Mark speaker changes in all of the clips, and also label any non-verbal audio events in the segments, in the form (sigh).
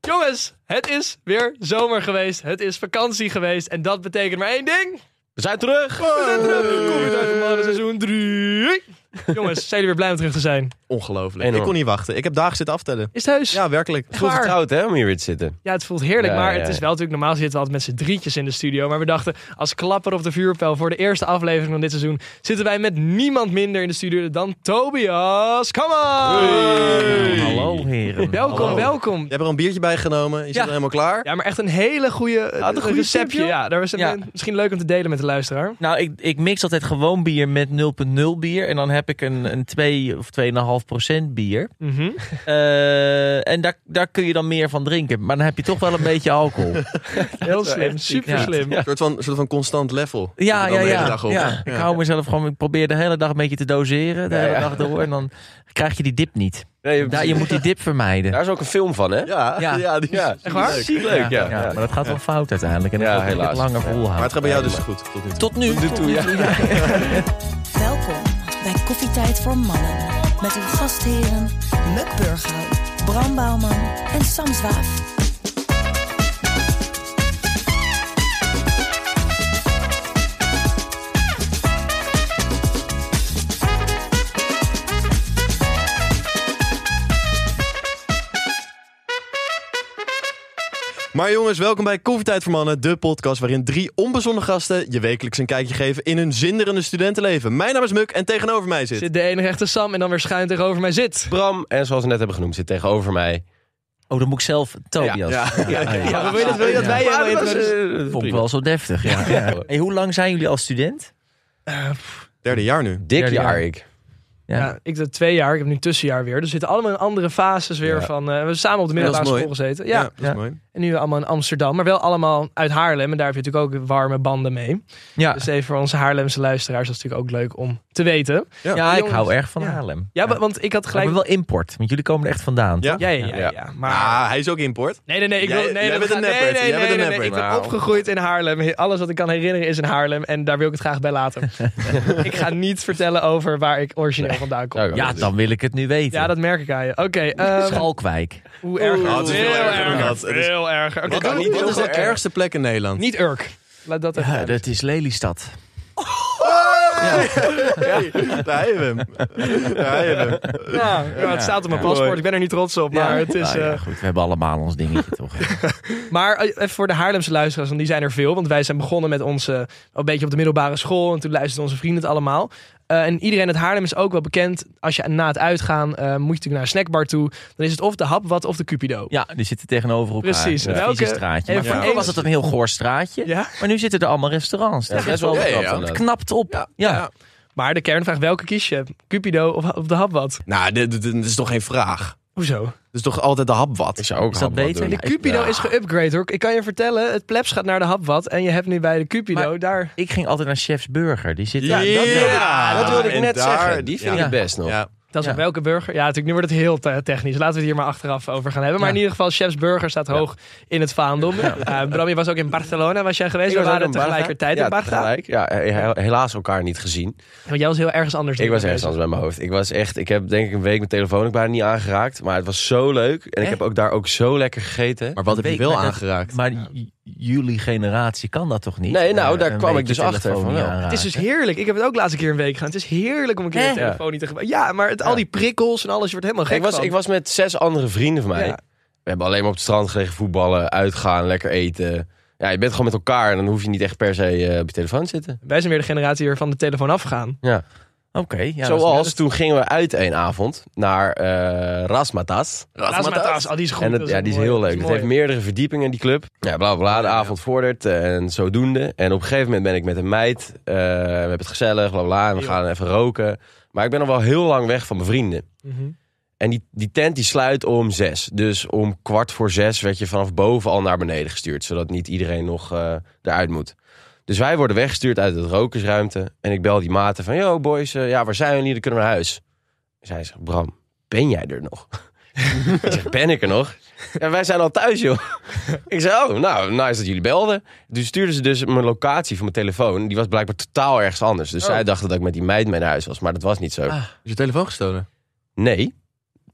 Speaker 1: Jongens, Dus het is weer zomer geweest. Het is vakantie geweest. En dat betekent maar één ding. We zijn terug. We zijn terug. Kom weer uit de mannen, seizoen 3. Jongens, zijn jullie weer blij om terug te zijn?
Speaker 2: Ongelooflijk.
Speaker 3: Ik kon niet wachten. Ik heb dagen zitten aftellen.
Speaker 1: Is het heus?
Speaker 3: Ja, werkelijk.
Speaker 1: Echt waar?
Speaker 3: hè, om hier weer te zitten.
Speaker 1: Ja, het voelt heerlijk.
Speaker 3: Ja,
Speaker 1: maar
Speaker 3: ja,
Speaker 1: het is
Speaker 3: ja.
Speaker 1: wel natuurlijk, normaal zitten we altijd met z'n drietjes in de studio. Maar we dachten, als klapper op de vuurpijl voor de eerste aflevering van dit seizoen... zitten wij met niemand minder in de studio dan Tobias. Come on!
Speaker 4: Hallo heren.
Speaker 1: Welkom,
Speaker 3: Hallo.
Speaker 1: welkom.
Speaker 3: Je hebt er een biertje bij genomen. Je zit
Speaker 1: Ja.
Speaker 3: er helemaal klaar.
Speaker 1: Ja, maar echt een hele goede eh,
Speaker 4: een goede
Speaker 1: receptje.
Speaker 4: tip, joh.
Speaker 1: Ja, daar is het
Speaker 4: Ja.
Speaker 1: eh, misschien leuk om te delen met de luisteraar.
Speaker 4: Nou, ik, ik mix altijd gewoon bier met 0,0 bier. En dan heb ik een, een 2 of 2,5 procent (laughs) bier.
Speaker 1: Mhm.
Speaker 4: Eh, en daar, daar kun je dan meer van drinken. Maar dan heb je toch (laughs) wel een beetje alcohol.
Speaker 1: Heel slim, super slim.
Speaker 3: Een soort van, soort van constant level.
Speaker 4: Ja,
Speaker 3: Zit er dan
Speaker 4: ja,
Speaker 3: de hele
Speaker 4: ja.
Speaker 3: dag op.
Speaker 4: ja. Ik hou mezelf gewoon, ik probeer de hele dag een beetje te doseren. De hele dag door. En dan krijg je die dip niet. Daar, je moet die dip vermijden.
Speaker 5: Daar is ook een film van, hè?
Speaker 3: Ja,
Speaker 4: Ja.
Speaker 3: ja. die is
Speaker 5: Ja.
Speaker 3: die is
Speaker 1: waar?
Speaker 3: leuk.
Speaker 5: Ziek leuk, ja.
Speaker 4: Ja, maar dat gaat wel fout uiteindelijk. En dan
Speaker 5: Ja,
Speaker 4: gaat het
Speaker 5: helaas.
Speaker 4: langer
Speaker 5: Ja.
Speaker 3: Maar
Speaker 4: volhouden. Eh,
Speaker 3: het gaat bij jou dus goed tot nu toe.
Speaker 4: Tot nu. Tot nu toe, ja.
Speaker 6: Welkom bij Koffietijd voor Mannen. Met uw gastheren Muk Burghuis, Bram Bouwman en Sam Zwaaf.
Speaker 3: Maar jongens, welkom bij Koffietijd voor Mannen, de podcast waarin drie onbezonnen gasten je wekelijks een kijkje geven in hun zinderende studentenleven. Mijn naam is Muk en tegenover mij zit...
Speaker 1: Zit de enige echte Sam en dan weer schuin tegenover mij zit.
Speaker 5: Bram, en zoals we net hebben genoemd, zit tegenover mij.
Speaker 4: Oh, dan moet ik zelf Tobias.
Speaker 3: Ja.
Speaker 4: Ah, ja.
Speaker 1: Maar wil je dat, wil je dat wij
Speaker 5: Ja,
Speaker 1: helemaal
Speaker 5: dat was, eh,
Speaker 1: introduceren?
Speaker 4: Vond ik
Speaker 5: prima.
Speaker 4: wel zo deftig. Ja. Ja. Hey, hoe lang zijn jullie al student?
Speaker 3: Derde jaar nu.
Speaker 5: Dik
Speaker 4: Derde
Speaker 5: jaar,
Speaker 4: jaar.
Speaker 5: ik.
Speaker 4: Ja.
Speaker 1: Ja, ik doe twee jaar, ik heb nu tussenjaar weer. Dus we zitten allemaal in andere fases weer
Speaker 5: Ja.
Speaker 1: van... eh, we hebben samen op de middelbare
Speaker 3: Ja, dat is
Speaker 1: school gezeten. Ja,
Speaker 3: dat is
Speaker 4: Ja.
Speaker 3: mooi.
Speaker 1: en nu allemaal in Amsterdam. Maar wel allemaal uit Haarlem. En daar heb je natuurlijk ook warme banden mee.
Speaker 4: Ja,
Speaker 1: Dus even voor onze Haarlemse luisteraars, dat is natuurlijk ook leuk om te weten.
Speaker 3: Ja,
Speaker 4: ja ik
Speaker 1: jongens.
Speaker 4: hou erg van
Speaker 1: Ja.
Speaker 4: Haarlem.
Speaker 1: Ja, wa- want ik had
Speaker 4: Maar
Speaker 1: gelijk...
Speaker 4: wel import, want jullie komen er echt vandaan.
Speaker 3: Ja?
Speaker 1: Ja, ja, ja.
Speaker 5: Ja.
Speaker 1: ja. Maar...
Speaker 3: Ah, hij is ook import.
Speaker 1: Nee, nee, nee. Ik
Speaker 3: Jij-
Speaker 1: wil, nee,
Speaker 3: jij
Speaker 1: dat
Speaker 3: bent een
Speaker 1: gaat-
Speaker 3: neppert.
Speaker 1: Nee, nee,
Speaker 3: Jij
Speaker 1: nee,
Speaker 3: bent een
Speaker 1: nee, nee,
Speaker 3: neppert.
Speaker 1: Ik ben
Speaker 5: Nou.
Speaker 1: opgegroeid in Haarlem. He- Alles wat ik kan herinneren is in Haarlem. En daar wil ik het graag bij
Speaker 3: (laughs)
Speaker 1: laten. ik ga niet vertellen over waar ik origineel vandaan kom.
Speaker 5: Nou,
Speaker 4: Ja, dan wil ik het nu weten. Eh,
Speaker 1: Ja, dat merk ik aan je. Oké, ehm,
Speaker 4: Schalkwijk.
Speaker 1: hoe erger?
Speaker 3: Oh, het is veel erger dan dat. Het is-
Speaker 1: Veel erger. Oké,
Speaker 3: Wat,
Speaker 1: doe-
Speaker 3: is- wat is de
Speaker 1: doe-
Speaker 3: ergste plek in Nederland?
Speaker 1: Niet Urk. Laat dat even.
Speaker 4: Ja, dat is Lelystad.
Speaker 3: Daar hebben we hem. Daar hebben we hem.
Speaker 1: Ja, ja, het staat op mijn paspoort. Ik ben er niet trots op. Maar, het is,
Speaker 3: Ah,
Speaker 4: Nou ja,
Speaker 1: eh,
Speaker 4: goed, we hebben allemaal
Speaker 1: (laughs)
Speaker 4: ons dingetje toch.
Speaker 1: maar eh, even voor de Haarlemse luisteraars, want die zijn er veel. Want wij zijn begonnen met onze. een beetje op de middelbare school. En toen luisterden onze vrienden het allemaal. Eh, en iedereen uit Haarlem is ook wel bekend. Als je na het uitgaan eh, moet je natuurlijk naar een snackbar toe. Dan is het of de Hapwat of de Cupido.
Speaker 4: Ja, die zitten tegenover elkaar.
Speaker 1: Precies.
Speaker 4: Een
Speaker 1: Welke-
Speaker 4: vieze straatje.
Speaker 1: en
Speaker 4: Maar
Speaker 1: voor
Speaker 4: vroeger
Speaker 1: één-
Speaker 4: was het een heel goor straatje.
Speaker 1: Ja?
Speaker 4: Maar nu zitten er allemaal restaurants.
Speaker 5: Dat
Speaker 4: Dat
Speaker 5: is
Speaker 4: is
Speaker 5: best wel
Speaker 3: Ja,
Speaker 5: knap,
Speaker 3: ja, ja.
Speaker 5: inderdaad.
Speaker 4: knapt op. Ja.
Speaker 3: ja.
Speaker 1: Maar de kernvraag: welke kies je? Cupido of, of de Hapwat?
Speaker 3: Nou, dit, dit- dit is toch geen vraag?
Speaker 1: Hoezo?
Speaker 3: Dit is toch altijd de hap wat?
Speaker 5: Ik zou ook
Speaker 4: Is dat
Speaker 5: hapbad
Speaker 4: beter?
Speaker 5: doen.
Speaker 1: De Cupido
Speaker 5: Ja.
Speaker 1: is geüpgrade hoor. Ik kan je vertellen, het plebs gaat naar de hapwat. En je hebt nu bij de Cupido
Speaker 4: Maar-
Speaker 1: daar...
Speaker 4: Ik ging altijd naar Chef's Burger. Die zit
Speaker 3: Ja,
Speaker 4: daar.
Speaker 3: Ja,
Speaker 5: Dat wilde ik
Speaker 3: en
Speaker 5: net
Speaker 3: daar-
Speaker 5: zeggen. Die vind
Speaker 3: ja.
Speaker 5: ik best nog.
Speaker 3: Ja.
Speaker 1: Dat is
Speaker 4: Ja.
Speaker 1: op welke burger? Ja, natuurlijk, nu wordt het heel te- technisch. Laten we het hier maar achteraf over gaan hebben. Maar
Speaker 4: Ja.
Speaker 1: in ieder geval, Chef's Burger staat hoog in het vaandel. Ja. Bram, je was ook in Barcelona, was jij geweest?
Speaker 5: Ik
Speaker 1: We
Speaker 5: was ook
Speaker 1: waren
Speaker 5: in Barca.
Speaker 1: tegelijkertijd
Speaker 5: ja,
Speaker 1: in Barca.
Speaker 5: tegelijk. Ja, he- he- helaas elkaar niet gezien.
Speaker 1: Want jij was heel ergens anders.
Speaker 5: Ik was
Speaker 1: dan
Speaker 5: ergens
Speaker 1: bezig.
Speaker 5: anders bij mijn hoofd. Ik was echt, ik heb denk ik een week mijn telefoon ook bijna niet aangeraakt. Maar het was zo leuk. En ik
Speaker 4: Echt?
Speaker 5: heb ook daar ook zo lekker gegeten.
Speaker 3: Maar wat heb je
Speaker 4: Weet-
Speaker 3: wel
Speaker 4: maar dat-
Speaker 3: aangeraakt?
Speaker 4: Maar j- jullie generatie kan dat toch niet?
Speaker 5: Nee, nou,
Speaker 4: Eh,
Speaker 5: daar
Speaker 4: een
Speaker 5: kwam ik
Speaker 4: beetje
Speaker 5: dus achter
Speaker 4: telefoon
Speaker 5: van
Speaker 4: niet
Speaker 5: wel.
Speaker 4: aanraken.
Speaker 1: Het is dus heerlijk. Ik heb het ook laatst een keer een week gedaan. Het is heerlijk om een keer de
Speaker 4: Hè?
Speaker 1: telefoon niet te gebruiken. Ja, maar het, al die prikkels en alles, je wordt helemaal gek
Speaker 5: Ik was,
Speaker 1: van.
Speaker 5: ik was met zes andere vrienden van mij.
Speaker 1: Ja.
Speaker 5: We hebben alleen maar op het strand gelegen voetballen, uitgaan, lekker eten. Ja, je bent gewoon met elkaar en dan hoef je niet echt per se eh, op je telefoon te zitten.
Speaker 1: Wij zijn weer de generatie die er van de telefoon afgaan.
Speaker 4: Oké. ja, dat is-
Speaker 5: Zoals, toen gingen we uit één avond naar eh Rasmatas.
Speaker 1: Rasmatas, oh, die is goed.
Speaker 5: en dat,
Speaker 1: dat
Speaker 5: ja,
Speaker 1: ook
Speaker 5: die is
Speaker 1: mooi.
Speaker 5: heel
Speaker 1: Dat
Speaker 5: leuk. Het
Speaker 1: mooi.
Speaker 5: heeft meerdere verdiepingen, die club. Ja, bla bla, bla. De avond vordert eh, en zodoende. En op een gegeven moment ben ik met een meid. eh, we hebben het gezellig, bla bla. En we gaan even roken. Maar ik ben al wel heel lang weg van mijn vrienden.
Speaker 1: Mhm.
Speaker 5: En die, die tent die sluit om zes. Dus om kwart voor zes werd je vanaf boven al naar beneden gestuurd. Zodat niet iedereen nog eh, eruit moet. Dus wij worden weggestuurd uit het rokersruimte. En ik bel die maten van, yo boys, eh, ja, waar zijn jullie? Dan kunnen we naar huis. Zij zegt, Bram, ben jij er nog? (laughs) ik zeg, ben ik er nog? En wij zijn al thuis, joh. (laughs) ik zeg, oh, nou, nice dat jullie belden. Toen stuurden ze dus mijn locatie van mijn telefoon. Die was blijkbaar totaal ergens anders. Dus zij dachten dat ik met die meid mee naar huis was. Maar dat was niet zo.
Speaker 3: Is je telefoon gestolen?
Speaker 5: Nee.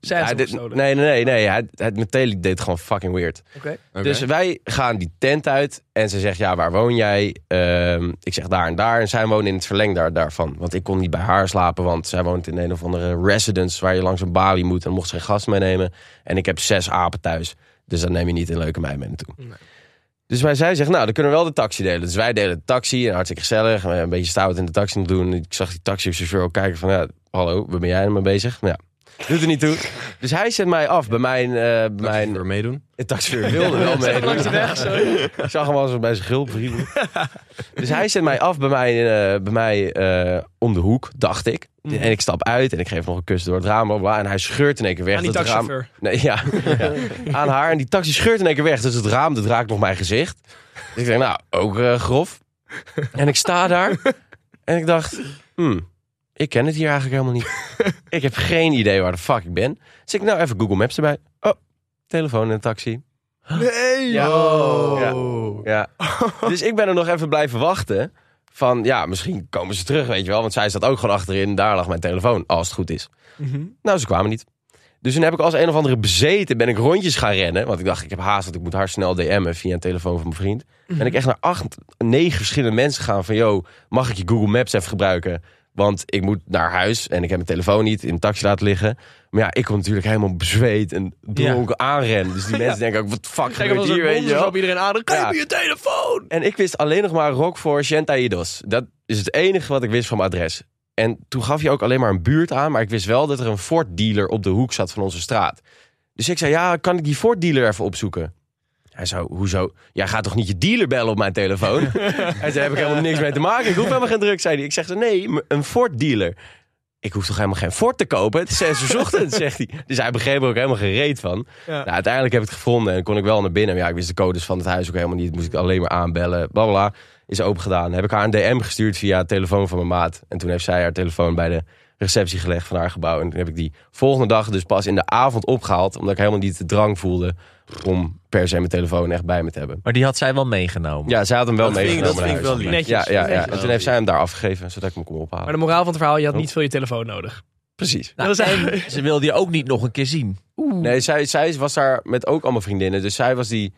Speaker 1: Zij
Speaker 5: Hij
Speaker 1: had
Speaker 5: deed-
Speaker 1: het opgestolen.
Speaker 5: nee, nee, nee. nee. Hij, hij, mijn tele deed gewoon fucking weird.
Speaker 1: Oké.
Speaker 5: Dus wij gaan die tent uit en ze zegt, ja, waar woon jij? Ehm, ik zeg daar en daar. En zij woont in het verleng daar, daarvan. Want ik kon niet bij haar slapen, want zij woont in een of andere residence... waar je langs een balie moet en mocht ze geen gast meenemen. En ik heb zes apen thuis, dus dan neem je niet een leuke meid mee naartoe. Dus wij zij zegt, nou, dan kunnen we wel de taxi delen. Dus wij delen de taxi en hartstikke gezellig. En Een beetje stout in de taxi nog doen. Ik zag die taxichauffeur ook kijken van, ja, hallo, waar ben jij nou mee bezig? Maar ja, doet er niet toe. Dus hij zet mij af bij mijn... eh, bij mijn
Speaker 3: Mijn... meedoen.
Speaker 5: de taxichauffeur wilde (laughs) wel meedoen. Ik zag hem al zo bij zijn gulp riemen. Dus hij zet mij af bij mij, eh, bij mij eh, om de hoek, dacht ik. En ik stap uit en ik geef nog een kus door het raam. bla, bla, en hij scheurt in één keer weg.
Speaker 1: Aan die
Speaker 5: dat het raam,
Speaker 1: taxichauffeur.
Speaker 5: nee, ja, ja, aan haar. En die taxi scheurt in één keer weg. Dus het raam, dat raakt nog mijn gezicht. Dus ik denk, nou, ook eh, grof. En ik sta daar. En ik dacht, hmm, ik ken het hier eigenlijk helemaal niet. Ik heb geen idee waar de fuck ik ben. Dus ik, nou, even Google Maps erbij. Oh, telefoon en taxi.
Speaker 3: Nee!
Speaker 5: Ja.
Speaker 3: Oh.
Speaker 5: Ja. (laughs) Dus ik ben er nog even blijven wachten. Van ja, misschien komen ze terug, weet je wel. Want zij zat ook gewoon achterin. Daar lag mijn telefoon, als het goed is. Nou, ze kwamen niet. Dus toen heb ik als een of andere bezeten, ben ik rondjes gaan rennen. Want ik dacht, ik heb haast, want ik moet haar snel DM'en via een telefoon van mijn vriend. Ben ik echt naar acht, negen verschillende mensen gaan van... yo, mag ik je Google Maps even gebruiken? Want ik moet naar huis en ik heb mijn telefoon niet in de taxi laten liggen. Maar ja, ik kom natuurlijk helemaal bezweet en dronken aanrennen. (laughs) Dus die mensen denken ook, wat fuck
Speaker 1: Kijk,
Speaker 5: gebeurt
Speaker 1: als een
Speaker 5: hier, weet je
Speaker 1: monster
Speaker 5: wel?
Speaker 1: op iedereen aan. Dan
Speaker 5: Ja.
Speaker 1: geef me je telefoon!
Speaker 5: En ik wist alleen nog maar Rock voor Idos. Dat is het enige wat ik wist van mijn adres. En toen gaf je ook alleen maar een buurt aan. Maar ik wist wel dat er een Ford dealer op de hoek zat van onze straat. Dus ik zei, ja, kan ik die Ford dealer even opzoeken? Hij zei, hoezo? Jij gaat toch niet je dealer bellen op mijn telefoon? Hij zei, heb
Speaker 1: (laughs)
Speaker 5: ik helemaal niks mee te maken. Ik hoef helemaal geen druk, zei hij. Ik zeg, nee, m- een Ford dealer. Ik hoef toch helemaal geen Ford te kopen? Het is zes uur 's ochtends, (laughs) zegt hij. Dus hij begreep er ook helemaal geen reet van. Nou, uiteindelijk heb ik het gevonden en kon ik wel naar binnen. Maar ja, ik wist de codes van het huis ook helemaal niet. Moest ik alleen maar aanbellen. Bla bla. bla. Is open gedaan. Heb ik haar een DM gestuurd via het telefoon van mijn maat. En toen heeft zij haar telefoon bij de receptie gelegd van haar gebouw. En toen heb ik die volgende dag dus pas in de avond opgehaald. Omdat ik helemaal niet de drang voelde om per se mijn telefoon echt bij me te hebben.
Speaker 4: Maar die had zij wel meegenomen.
Speaker 5: Ja, zij had hem wel
Speaker 3: Dat vind ik, dat
Speaker 5: meegenomen. naar
Speaker 3: vind ik
Speaker 5: huis.
Speaker 3: wel lief.
Speaker 1: Netjes.
Speaker 5: Ja, ja, ja. En
Speaker 3: Netjes.
Speaker 5: toen heeft zij hem daar afgegeven, zodat ik hem kon ophalen.
Speaker 1: Maar de moraal van het verhaal, je had niet veel je telefoon nodig.
Speaker 5: Precies.
Speaker 4: Nou,
Speaker 1: Dat is (laughs)
Speaker 4: en ze wilde je ook niet nog een keer zien.
Speaker 5: Nee, zij, zij was daar met ook allemaal vriendinnen. Dus zij was die,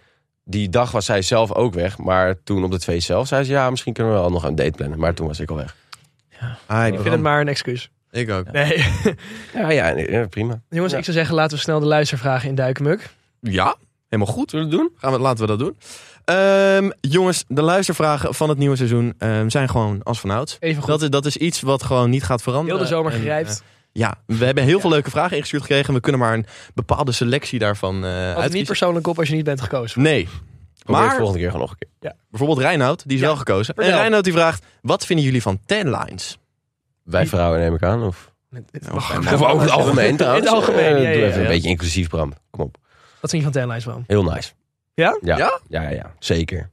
Speaker 5: die dag was zij zelf ook weg. Maar toen op het feest zelf zei ze... ja, misschien kunnen we wel nog een date plannen. Maar toen was ik al weg.
Speaker 3: Hi,
Speaker 1: Ik vind het
Speaker 3: Bram.
Speaker 1: maar een excuus.
Speaker 3: Ik ook.
Speaker 1: Nee.
Speaker 5: Ja, ja, nee, ja, prima.
Speaker 1: Jongens,
Speaker 5: Ja.
Speaker 1: ik zou zeggen, laten we snel de luistervragen induiken, Muk.
Speaker 3: Ja, helemaal goed.
Speaker 5: Zullen we het doen?
Speaker 3: Gaan we, laten we dat doen. Ehm, jongens, de luistervragen van het nieuwe seizoen ehm, zijn gewoon als vanouds.
Speaker 1: Even goed.
Speaker 3: Dat is, dat is iets wat gewoon niet gaat veranderen.
Speaker 1: Heel de zomer
Speaker 3: En,
Speaker 1: gerijpt.
Speaker 3: eh, ja, we hebben heel veel leuke vragen ingestuurd gekregen. En we kunnen maar een bepaalde selectie daarvan eh
Speaker 1: Altijd niet
Speaker 3: uitkiezen.
Speaker 1: persoonlijk op als je niet bent gekozen.
Speaker 3: Nee.
Speaker 5: Probeer maar...
Speaker 3: Maar-
Speaker 5: het volgende keer gewoon nog een keer.
Speaker 3: Bijvoorbeeld Reinoud, die is
Speaker 1: Ja,
Speaker 3: wel gekozen. En
Speaker 1: vertel.
Speaker 3: Reinoud die vraagt, wat vinden jullie van tanlines?
Speaker 5: Wij vrouwen neem ik aan, of...
Speaker 1: Mag-
Speaker 5: Of over nou, het (laughs) algemeen trouwens.
Speaker 1: In het algemeen,
Speaker 5: Eh,
Speaker 1: ja,
Speaker 5: doe
Speaker 1: ja,
Speaker 5: even
Speaker 1: ja.
Speaker 5: een beetje inclusief, Bram. Kom op.
Speaker 1: Wat vind je van Tenlijns, man?
Speaker 5: Heel nice.
Speaker 1: Ja?
Speaker 5: Ja,
Speaker 3: Ja?
Speaker 5: ja, ja, ja. zeker.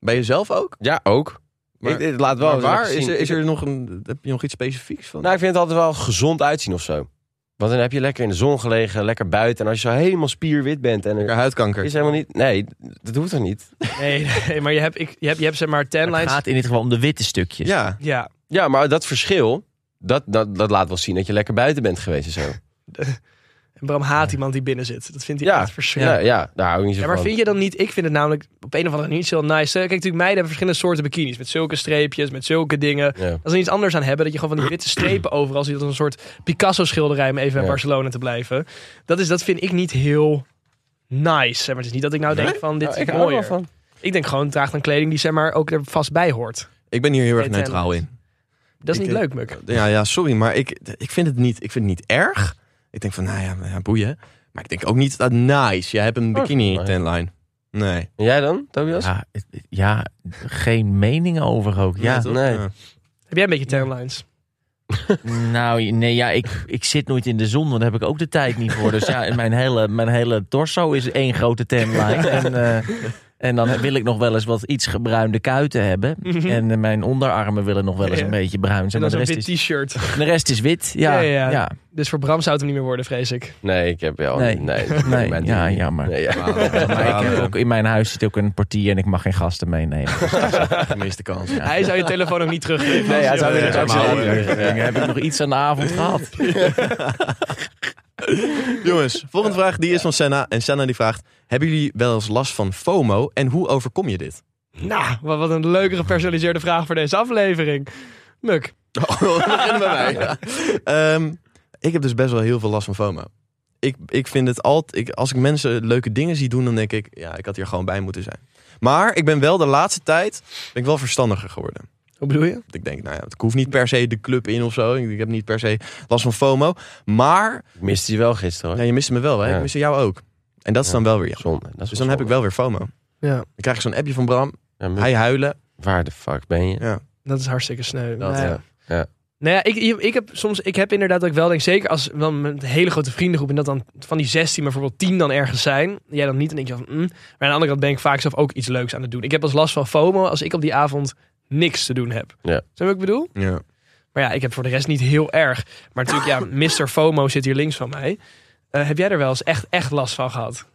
Speaker 3: Bij jezelf ook?
Speaker 5: Ja, ook.
Speaker 3: Maar-
Speaker 5: ik, ik laat wel
Speaker 3: Maar
Speaker 5: eens
Speaker 3: waar?
Speaker 5: even
Speaker 3: Is
Speaker 5: zien.
Speaker 3: er, is er nog een, heb je nog iets specifieks van?
Speaker 5: Nou, ik vind het altijd wel gezond uitzien of zo. Want dan heb je lekker in de zon gelegen, lekker buiten. En als je zo helemaal spierwit bent en er
Speaker 3: Lekker huidkanker.
Speaker 5: Is helemaal niet. Nee, dat hoeft toch niet?
Speaker 1: (laughs) Nee, nee, maar je hebt, ik, je hebt, je hebt zeg maar
Speaker 4: Maar Het
Speaker 1: Tenlijns.
Speaker 4: gaat in dit geval om de witte stukjes.
Speaker 3: Ja,
Speaker 1: Ja,
Speaker 5: Ja, maar dat verschil. Dat, dat, dat laat wel zien dat je lekker buiten bent geweest en zo.
Speaker 1: en Bram haat iemand die binnen zit. Dat vindt hij
Speaker 5: Ja.
Speaker 1: echt verschrikkelijk.
Speaker 5: Ja, ja daar hou ik niet zo
Speaker 1: Ja, maar
Speaker 5: van.
Speaker 1: vind je dan niet? Ik vind het namelijk op een of andere manier iets heel nice. Kijk, natuurlijk, meiden hebben verschillende soorten bikinis. Met zulke streepjes, met zulke dingen.
Speaker 5: Ja.
Speaker 1: Als ze er iets anders aan hebben, dat je gewoon van die witte strepen overal ziet. Als een soort Picasso-schilderij, om even bij
Speaker 5: Ja.
Speaker 1: Barcelona te blijven. Dat, is, dat vind ik niet heel nice. Zeg maar. Het is niet dat ik nou denk van dit
Speaker 5: Nou,
Speaker 1: is
Speaker 5: ik hou er wel
Speaker 1: mooier.
Speaker 5: van.
Speaker 1: Ik denk gewoon, draag dan kleding die zeg maar ook er vast bij hoort.
Speaker 3: ik ben hier heel erg
Speaker 1: Hey,
Speaker 3: neutraal in.
Speaker 1: Dat is
Speaker 3: Ik,
Speaker 1: niet
Speaker 3: eh,
Speaker 1: leuk, Muk.
Speaker 3: Ja, ja, sorry, maar ik, ik, vind het niet, ik vind het niet erg. Ik denk van, nou ja, ja, boeien. Maar ik denk ook niet dat nice. Jij hebt een bikini
Speaker 5: Oh, nee.
Speaker 3: tanline. Nee.
Speaker 5: En jij dan, Tobias?
Speaker 4: Ja, het- het- ja, geen mening over ook. Ja.
Speaker 3: toch?
Speaker 5: nee.
Speaker 1: Heb jij een beetje tanlines?
Speaker 4: Nou, nee, ja, ik, ik zit nooit in de zon, want daar heb ik ook de tijd niet voor. Dus ja, mijn hele, mijn hele torso is één grote tanlijn. En, eh, en dan wil ik nog wel eens wat iets gebruinde kuiten hebben.
Speaker 1: Mhm.
Speaker 4: En eh, mijn onderarmen willen nog wel eens
Speaker 1: Ja.
Speaker 4: een beetje bruin
Speaker 1: En
Speaker 4: zijn.
Speaker 1: dan
Speaker 4: Maar de
Speaker 1: zo'n
Speaker 4: rest,
Speaker 1: wit
Speaker 4: is,
Speaker 1: t-shirt.
Speaker 4: de rest is wit. Ja,
Speaker 1: Ja,
Speaker 4: ja,
Speaker 1: ja. Dus voor Bram zou het hem niet meer worden, vrees ik.
Speaker 5: Nee, ik heb wel...
Speaker 4: Nee.
Speaker 5: Nee, nee,
Speaker 4: Nee,
Speaker 5: mijn
Speaker 4: ja,
Speaker 5: ding.
Speaker 4: jammer.
Speaker 5: Nee, ja.
Speaker 4: Maar ik heb ook, in mijn huis zit ook een portier en ik mag geen gasten meenemen.
Speaker 3: Gemiste kans.
Speaker 4: Ja.
Speaker 1: Hij zou je telefoon ook niet teruggeven.
Speaker 5: Nee, hij (laughs) zou
Speaker 3: Ja,
Speaker 5: weer
Speaker 3: ja,
Speaker 5: ook
Speaker 3: maar
Speaker 5: zeggen.
Speaker 3: ouder.
Speaker 4: Dan heb ik nog iets aan de avond gehad.
Speaker 3: Jongens, volgende vraag die is van Senna. En Senna die vraagt, hebben jullie wel eens last van FOMO en hoe overkom je dit?
Speaker 1: Nou, wat wat een leuke gepersonaliseerde vraag voor deze aflevering. Muk.
Speaker 3: (laughs) Oh, we beginnen bij mij. Ehm, ik heb dus best wel heel veel last van FOMO. Ik, ik vind het altijd... Ik, als ik mensen leuke dingen zie doen, dan denk ik... Ja, ik had hier gewoon bij moeten zijn. Maar ik ben wel de laatste tijd... Ben ik wel verstandiger geworden.
Speaker 1: Hoe bedoel je?
Speaker 3: Want ik denk, nou ja, ik hoef niet per se de club in of zo. Ik ik heb niet per se last van FOMO. Maar
Speaker 5: (laughs) Ik miste je wel gisteren hoor.
Speaker 3: ja, je miste me wel, hè?
Speaker 5: Ja.
Speaker 3: Ik miste jou ook. En dat is dan wel weer jammer.
Speaker 5: Zonde. Dat is
Speaker 3: Dus dan heb ik wel weer FOMO. Dan
Speaker 1: Ja,
Speaker 3: krijg ik zo'n appje van Bram.
Speaker 5: Ja, maar
Speaker 3: Hij huilen.
Speaker 5: Waar de fuck ben je?
Speaker 1: dat is hartstikke sneu.
Speaker 3: Dat,
Speaker 1: Nou ja.
Speaker 5: ja. Ja.
Speaker 1: Nou ja, ik, ik heb soms, ik heb inderdaad dat ik wel denk, zeker als wel met een hele grote vriendengroep en dat dan van die 16 bijvoorbeeld 10 dan ergens zijn, jij dan niet, dan denk je van, mm. maar aan de andere kant ben ik vaak zelf ook iets leuks aan het doen. Ik heb als last van FOMO als ik op die avond niks te doen heb.
Speaker 5: Ja.
Speaker 1: Snap je wat ik bedoel?
Speaker 3: Ja.
Speaker 1: Maar ja, ik heb voor de rest niet heel erg. Maar natuurlijk,
Speaker 4: (laughs)
Speaker 1: ja, Mr. FOMO zit hier links van mij. Eh, heb jij er wel eens echt, echt last van gehad?